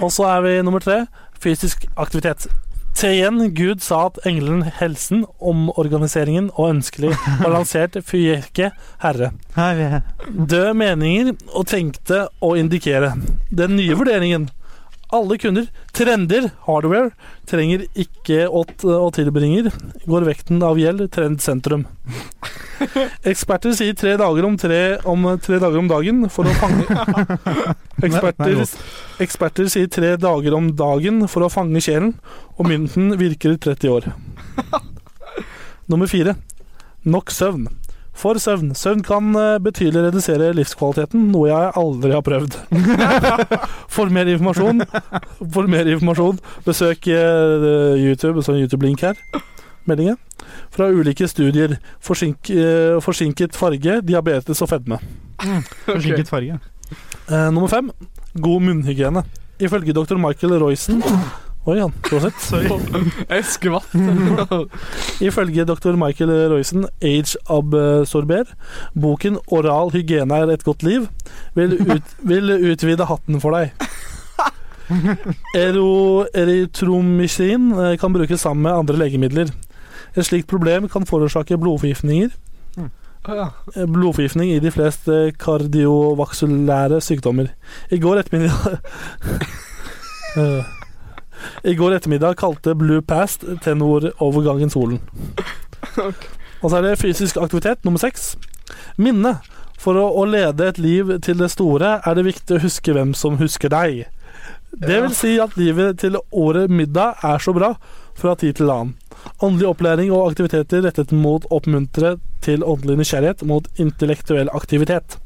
Og så er vi nummer tre. Fysisk aktivitet. Til igjen, Gud sa at engelen helsen, omorganiseringen og ønskelig balansert fyrke herre. Døde meninger og tenkte å indikere. Den nye vurderingen Alle kunder, trender, hardware, trenger ikke å, t- å tilbringer. Går vekten av gjeld, trend sentrum. Eksperter sier tre dager om, tre, om tre dager om dagen for å fange Eksperter, eksperter sier tre dager om dagen for å fange sjelen, og mynten virker i 30 år. Nummer fire. Nok søvn. For søvn. Søvn kan eh, betydelig redusere livskvaliteten, noe jeg aldri har prøvd. For mer informasjon, for mer informasjon besøk eh, YouTube, sånn YouTube-link her. Meldingen. Fra ulike studier. Forsink, eh, forsinket farge, diabetes og fedme.
Forsinket farge.
Eh, nummer fem. God munnhygiene. Ifølge dr. Michael Roysen Oi sann, prosit.
Jeg skvatt.
Ifølge dr. Michael Roysen, Age Absorber, boken 'Oral hygiene er et godt liv' vil, ut, vil utvide hatten for deg. Ero, eritromycin eh, kan brukes sammen med andre legemidler. Et slikt problem kan forårsake blodforgiftninger. Eh, Blodforgiftning i de fleste kardiovaksulære sykdommer. I går ettermiddag Eh, I går ettermiddag kalte Blue Past tenorovergangen solen. Og så er det fysisk aktivitet nummer seks. Minne. For å, å lede et liv til det store er det viktig å huske hvem som husker deg. Det vil si at livet til året middag er så bra fra tid til annen. Åndelig opplæring og aktiviteter rettet mot oppmuntre til åndelig nysgjerrighet mot intellektuell aktivitet.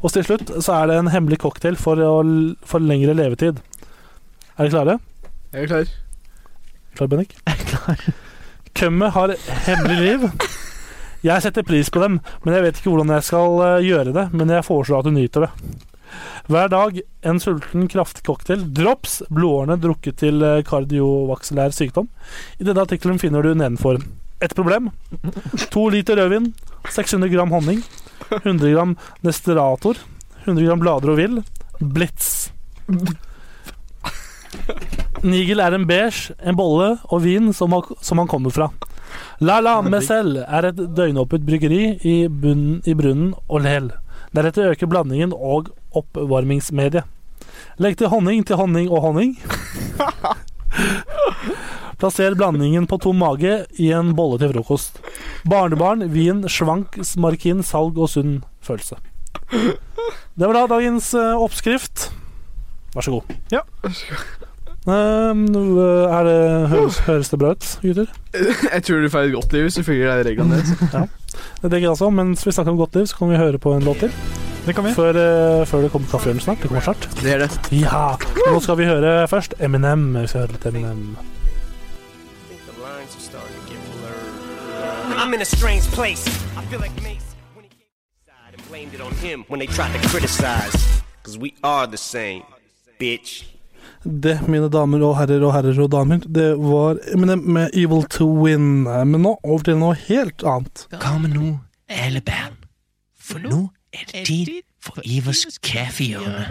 Og til slutt så er det en hemmelig cocktail for, å, l- for lengre levetid. Er dere klare?
Jeg er klar.
Klar, Bennik? Kømmet har hemmelig liv. Jeg setter pris på dem, men jeg vet ikke hvordan jeg skal eh, gjøre det. Men jeg foreslår at du nyter det. Hver dag en sulten kraftcocktail. Drops blodårene drukket til eh, kardiovakselær sykdom. I denne artikkelen finner du nedenfor ett problem. To liter rødvin, 600 gram honning, 100 gram Nesterator, 100 gram blader og vill, Blitz. Nigel er en beige, en bolle og vin som, har, som han kommer fra. La La Messel er et døgnåpent bryggeri i, bunnen, i brunnen og lel. Deretter øker blandingen og oppvarmingsmediet. Legg til honning til honning og honning. Plasser blandingen på tom mage i en bolle til frokost. Barnebarn, vin, svank, smarkin, salg og sunn følelse. Det var da dagens eh, oppskrift. Vær så god.
Ja.
Ehm, er det, høres, høres det bra ut, gutter?
Jeg tror du får et godt liv hvis du følger de reglene deres.
Ja. Det tenker jeg også. Mens vi snakker om godt liv, så kan vi høre på en låt til.
Det kan vi.
Før, eh, før det kommer kaffehjørne snart. Det kommer snart.
Det er det.
Ja, og Nå skal vi høre først Eminem. Vi skal høre litt Eminem.
I'm in a strange place. I feel like Mace when he came inside and blamed it on him when they tried to criticize. Cause we are the same, bitch.
Det, mine damer og herrer og herrer og damer, det var Eminem med Evil to Win. Men nå over til noe helt annet.
Kom nå, alle barn. For nå er det tid for Ivers kaffehjørne.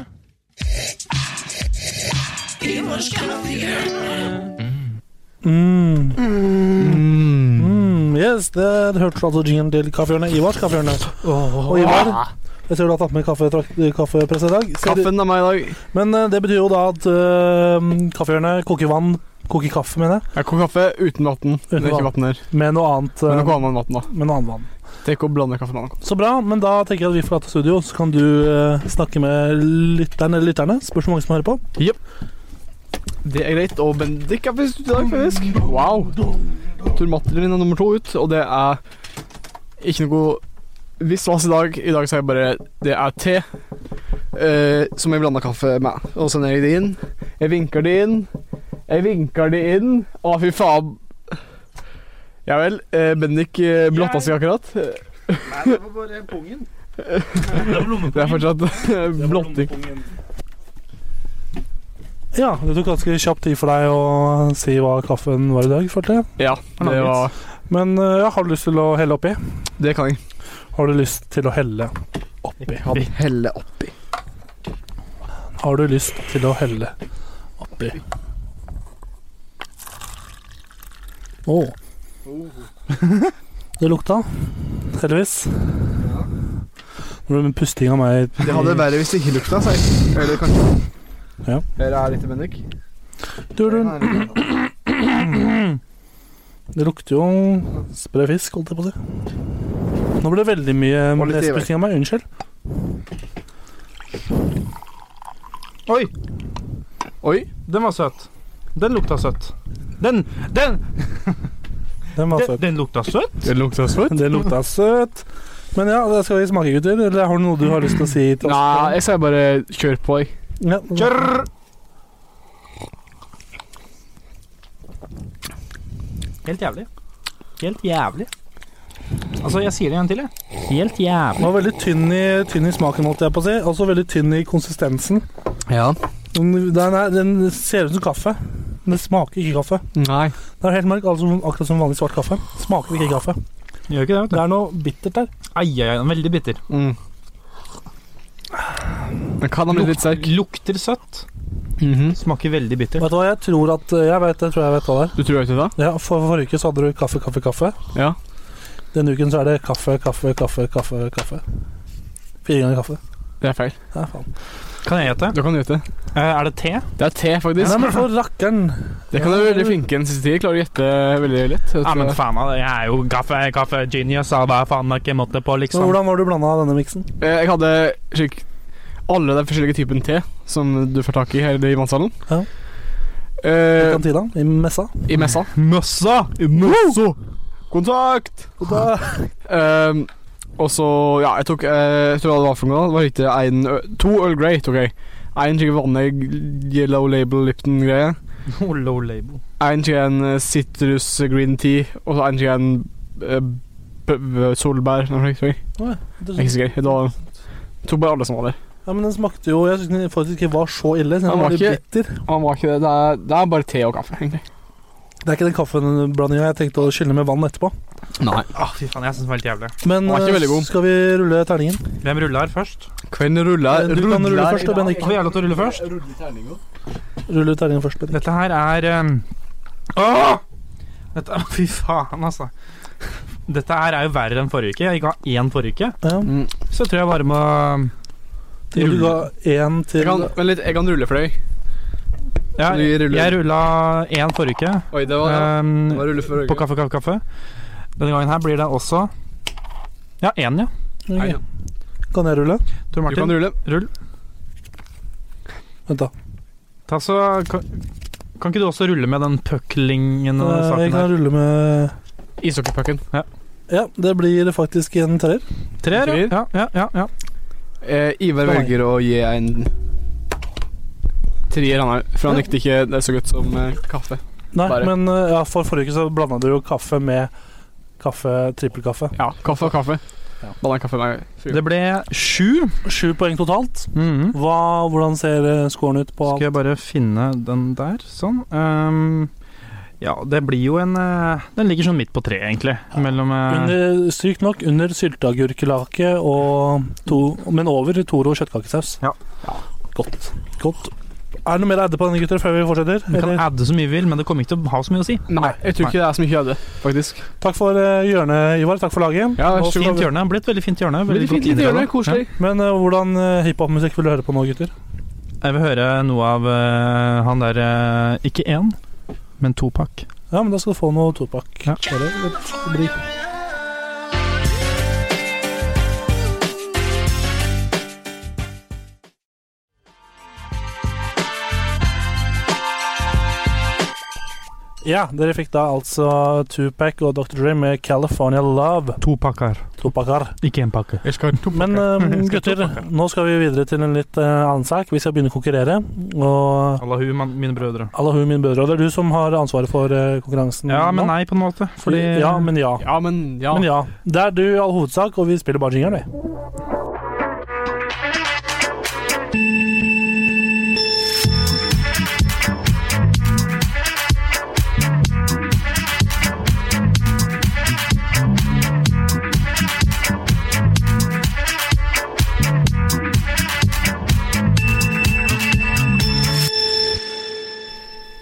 Mm. Mm. Yes, der hørte du altså jingeren til kaffehjørnet. Ivars kaffehjørne. Og Ivar, jeg ser du har tatt med kaffe, trakt- kaffepress i dag. Ser du-
Kaffen av meg i dag.
Men eh, det betyr jo da at uh, kaffehjørnet koker vann, koker kaffe, mener jeg,
Jeg koker kaffe uten vann. Det er
Uten
ikke
vann.
vann her.
med noe annet. eh,
Men noe annet enn vann, da.
med noe annet vann.
Tenk å blande kaffe med annen kaffe.
Så bra, men da tenker jeg at vi forlater studio, så kan du eh, snakke med lytteren eller lytterne. Spørs hvor mange som hører på.
Det er greit. Og Bendik er først ut i dag, faktisk. Wow. Tor Matter min er nummer to ut, og det er ikke noe visvas i dag. I dag sier jeg bare det er te eh, som jeg blanda kaffe med. Og så ned i det inn. Jeg vinker det inn. Jeg vinker det inn. Å, fy faen. Ja vel. eh, Bendik eh, blotta seg akkurat.
Nei, det var bare pungen.
Det er fortsatt blotting.
Ja, det tok ganske kjapp tid for deg å si hva kaffen var i dag, følte jeg.
Ja, det var
Men eh, ja, har du lyst til å helle oppi?
Det kan jeg.
Har du lyst til å helle oppi?
Helle oppi.
Har du lyst til å helle oppi? Å. Det lukta, heldigvis. Nå ble det en pusting av meg
Det hadde vært verre hvis det ikke lukta, sier jeg. Eller kanskje
Ja.
Dere er litt i Bendik?
Du, du. Det lukter jo sprø fisk, holdt jeg på å si. Nå ble det veldig mye
Og litt
nesepusting av meg. Unnskyld.
Oi! Oi. Den var søt. Den lukta søtt. Den Den!
Den var søt.
Den, den lukta søtt?
Det lukta søt. Det lukta søt. Men ja, det skal vi smake, gutter. Eller har du noe du har lyst til å si til oss?
Nei, jeg sier bare kjør på, jeg.
Ja.
Kjør! Helt jævlig. Helt jævlig. Altså, jeg sier det igjen til, jeg. Helt jævlig.
Den var veldig tynn i, tynn i smaken, holdt jeg på å si. Også veldig tynn i konsistensen.
Ja.
Den, den, er, den ser ut som kaffe, men det smaker ikke kaffe.
Nei.
Den er helt mørk, altså, akkurat som vanlig svart kaffe. Smaker ikke kaffe.
Gjør ikke det, vet du.
Det er noe bittert der.
Ai, ai, ai, den er veldig bitter.
Den kan ha blitt litt sterk.
Lukter søtt. Smaker veldig bitter.
Vet du hva, jeg tror at Jeg vet, jeg tror jeg vet hva det er.
Du tror ikke det?
Ja, for Forrige uke så hadde du kaffe, kaffe, kaffe.
Ja.
Denne uken så er det kaffe, kaffe, kaffe, kaffe. kaffe Fire ganger kaffe.
Det er feil.
Ja, faen.
Kan jeg gjette?
Du kan gjette.
Eh, Er det te?
Det er te, faktisk.
Nei, men for rakkeren.
Det kan du være veldig flinke den siste tiden. Klarer å gjette veldig lett.
Ja,
Jeg tror
men
jeg-
faen av det. Jeg er jo kaffe, kaffe genius av hva faen jeg ikke måtte på,
Så
liksom.
hvordan var du blanda av denne miksen?
Eh, Jeg hadde slik alle de forskjellige typene te som du får tak i her i mannshallen.
Ja. I
Eh,
kantina? I messa?
I messa.
Møssa! Møssa!
Kontakt! Eh, og så Ja, jeg tok eh, Jeg tror det var for noe. da. Det var ikke en, ø- to Earl Grey tok jeg. En slik vanlig yellow label Lipton-greie.
Oh, low label.
En slik en eh, citrus green tea, og så en slik en eh, b- b- solbær. Noe slikt, tror jeg.
Å, ja.
Jeg er ikke sikker. Da jeg tok bare alle som var der.
Ja, men den smakte jo Jeg syns den faktisk ikke var så ille. siden
Den
Den
var
var litt
ikke-
bitter.
Han var ikke det. Det er, det er bare te og kaffe, egentlig.
Det er ikke den kaffeblandinga jeg tenkte å skylle med vann etterpå.
Nei.
Ah, fy faen, jeg syns den var helt jævlig.
Men
Den var ikke
eh,
veldig god.
skal vi rulle terningen?
Hvem ruller først?
Kvelden ruller.
Eh, du kan rulle først, da, Bendik.
Får jeg lov til å rulle først?
Rulle terningen først, Bendik.
Dette her er um... Åh! Dette... Fy faen, altså. Dette her er jo verre enn forrige uke. Jeg ga én forrige uke.
Ja.
Så jeg tror jeg bare må
Du ga én til
Jeg kan, vent litt, jeg kan rulle for deg.
ja,
Du ruller.
Jeg rulla én forrige uke.
Oi, det var, ja.
um,
det var rulle for
på kaffe, kaffe, kaffe. Denne gangen her blir det også Ja, én, ja.
Ok.
ja.
Kan jeg rulle?
Tor
Du
Martin.
kan rulle.
Rull.
Vent, da.
Ta så kan, kan ikke du også rulle med den pucklingen og
Eh, Jeg
saken
kan
her?
rulle med
Ishockeypucken.
Ja, det blir faktisk en treer.
Treer, ja. ja, ja, ja, ja.
Eh, Ivar
Nei.
velger å gi en trier, han her. For han likte ikke det så godt som eh, kaffe.
Nei,
Bare.
men eh, ja, for forrige uke så blanda du jo kaffe med kaffe, trippelkaffe.
Ja, kaffe og kaffe.
Ja.
Blanda kaffe med
Det ble sju.
Sju poeng totalt.
Mhm.
Hva, hvordan ser eh, scoren ut på
Skal jeg bare finne den der, sånn. Ehm, ja, det blir jo en eh, Den ligger sånn midt på treet, egentlig. Mellom eh,
under, Sykt nok under sylteagurkelake, og to- men over Toro kjøttkakesaus.
Ja.
Godt. Godt. Er det noe mer edde på denne, gutter, før vi fortsetter?
Vi kan
Eller?
adde så mye vi vil, men det kommer ikke til å ha så mye å si.
Nei, jeg tror
Nei.
ikke det er så mye jeg hadde, faktisk.
Takk for eh, hjørnet, Ivar. Takk for laget.
Ja,
Og
sure.
fint hjørne. Det ble et veldig fint hjørne.
Veldig
Veldig
fint
godt
lite hjørne.
innredet.
Koselig.
Men eh, hvordan eh, hiphopmusikk vil du høre på nå, gutter?
Jeg vil høre noe av eh, han der eh, Ikke én, men to pakk.
Ja, men da skal du få noe tobakk.
Ja.
Bare- det blir- Ja, dere fikk da altså Tupac og Dr. Dre med 'California Love'.
To pakker,
Tobakar.
ikke én pakke.
Jeg skal
Men eh, gutter, nå skal vi videre til en litt eh, annen sak. Vi skal begynne å konkurrere. Og
Allahu, man- mine brødre.
Allahu min brødre, og det er du som har ansvaret for eh, konkurransen.
Ja, men
nå.
nei, på en måte. Fordi
Ja, men ja.
Ja, men ja.
Men ja, det er du i all hovedsak, og vi spiller bare jingeren, vi.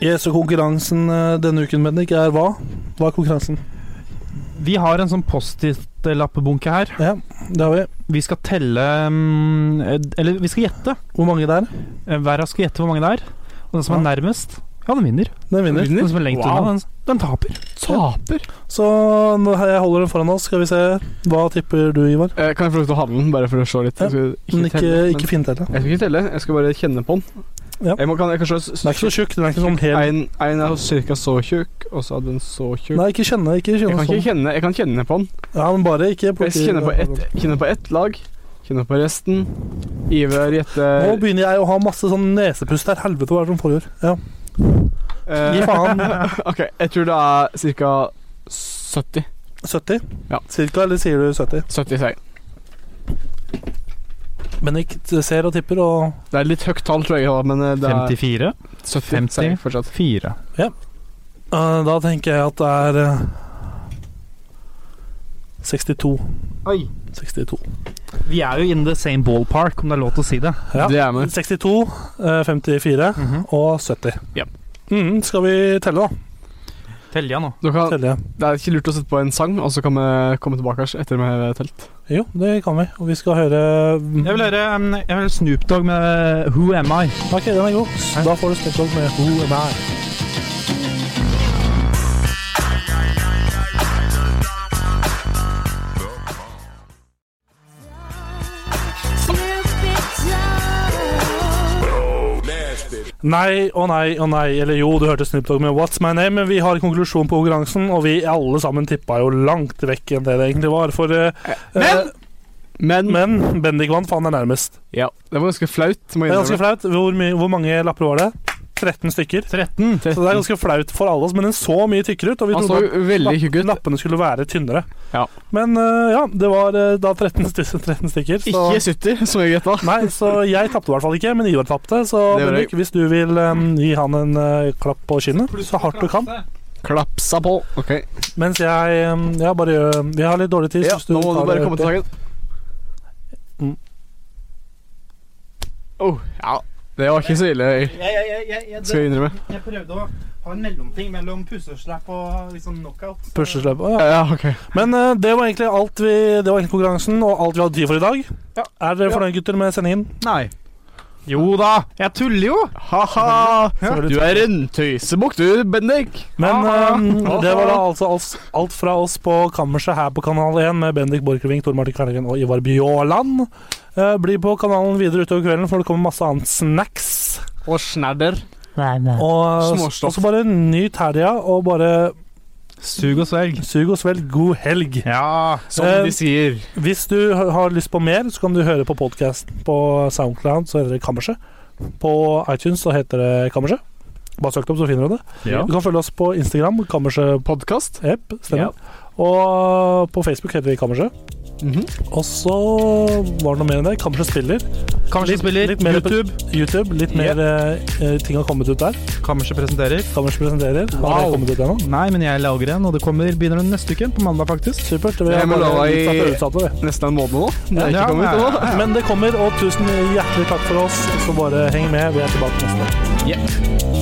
Yes, og konkurransen eh, denne uken, Bendik, er hva? Hva er konkurransen?
Vi har en sånn Post-It-lappebunke her.
Ja, det har Vi
Vi skal telle mm, Eller vi skal gjette. Eh,
Hvor mange det er?
Hver av oss skal gjette hvor mange det er. Og den som er nærmest, ja, den vinner.
Den vinner.
Den som er lengst
Wow.
unna, den, den taper.
Taper. Så nå- jeg holder den foran oss. Skal vi se. Hva tipper du, Ivar?
Eh, Kan jeg få lov til å ha den, bare for å se litt? Jeg skal
Men ikke,
telle, men-
ikke fint heller.
Jeg skal ikke telle, jeg skal bare kjenne på den. Jeg må, kan, jeg kanskje,
Den er ikke så tjukk. Den er ikke sånn hel
En, en er cirka så tjukk, og så er den så tjukk.
Nei, ikke kjenne. Ikke
jeg
kjenne
kan
sånn.
ikke kjenne, jeg kan kjenne på den.
Ja, men bare ikke
Jeg kjenner på ett, kjenner på ett lag, kjenner på resten. Ivar
Nå
gjetter
begynner jeg å ha masse sånn nesepust her. Helvete, hva er det som foregår? Ja.
eh,
Gi faen.
OK, jeg tror det er ca. 70.
70?
Ja.
Cirka, eller sier du 70?
70, sier jeg.
Bendik ser og tipper og
Det er litt høyt tall, tror jeg. da, Men eh, det er
54.
70, sier jeg fortsatt.
4.
Ja. Eh, Da tenker jeg at det er eh, 62.
Oi.
62.
Vi er jo in the same ballpark, om det er lov til å si det.
Ja.
Det er med.
62, eh, 54
Mhm.
og 70.
Ja.
Mm, skal vi telle, da?
Telja nå.
Du kan,
Telle.
det er ikke lurt å sette på en sang, og så kan vi komme tilbake kanskje, etter vi har telt.
Jo, det kan vi. Og vi skal høre
Jeg vil høre um, jeg vil høre Snoop Dogg med eh, Who Am I?
Ok, den er god. Da får du Snoop Dogg med Who Am I. Nei og nei og nei, eller jo, du hørte Snoop Dogg med What's My Name, men vi har konklusjon på konkurransen, og vi alle sammen tippa jo langt vekk enn det det egentlig var, for Men!
men,
men Bendik vant, for han er nærmest.
Ja, det var ganske flaut. må
Det
jeg
er ganske
innrømme.
flaut. Hvor, my hvor mange lapper var det? 13 stykker.
13.
Så det er ganske flaut for alle oss, men den så mye tykkere ut. Og vi
Han
trodde
så
at
veldig tjukk ut.
lappene skulle være tynnere.
Ja.
Men øh, ja, det var øh, da 13, sty- 13 stykker. Så,
Ikke 70, som jeg gjetta.
nei, så jeg tapte i hvert fall ikke, men Ivar tapte. Så
Det gjorde
Bendik, hvis du vil øhm, gi han en øh, klapp på kinnet, så hardt du kan.
Klapsa på. OK.
Mens jeg øhm, ja, bare gjør Vi har litt dårlig tid. så
Ja,
hvis
nå må du
tar
bare
det-
komme til saken.
Mm.
Oh, ja. Det var ikke så ille, skal jeg innrømme.
Jeg prøvde å ha en mellomting mellom pusseslapp og liksom knockout.
Puslesløp. Å, ja.
Ja, ok.
Men øh, det var egentlig alt vi Det var egentlig konkurransen og alt vi hadde tid for i dag. Er dere fornøyd, gutter, med sendingen?
Nei.
Jo da, jeg tuller jo!
Ha-ha! Du er en tøysebukk, du, Bendik.
Men eh, det var da altså oss- alt fra oss på kammerset her på Kanal 1 med Bendik Borchgrevink, Tor Martin Kvernagen og Ivar Bjåland. Eh, bli på kanalen videre utover kvelden, for det kommer masse annet snacks.
Og snadder.
Og, eh, og
Småstoff.
så bare nyt helga, og bare
Sug og svelg.
sug og svelg. God helg.
Ja,
Som
Eh,
de sier.
Hvis du ha- har lyst på mer, så kan du høre på podkasten på Soundcloud, så heter det Kammerset. På iTunes så heter det Kammerset. Bare søk det opp, så finner du det.
Ja.
Du kan følge oss på Instagram, Kammerset
Podkast.
Jepp, stemmer. Og på Facebook heter vi Kammerset.
Mhm.
Og så var det noe mer enn det. Kammerset spiller.
Kammerset spiller,
litt mer
YouTube.
YouTube. Litt mer eh, ting har kommet ut der.
Kammerset presenterer.
Kammerset presenterer. Har det
Wow.
kommet ut ennå?
Nei, men jeg lager en, og det kommer, begynner den neste uke, på mandag faktisk.
Supert. Vi
Det
har
må lova
bare
i-
utsatt og utsatt det.
Nesten en måned nå. Det
Ja,
er ikke kommet ut
ja,
ennå.
Men det kommer, og tusen hjertelig takk for oss. Så bare heng med. Vi er tilbake neste gang.
Yeah.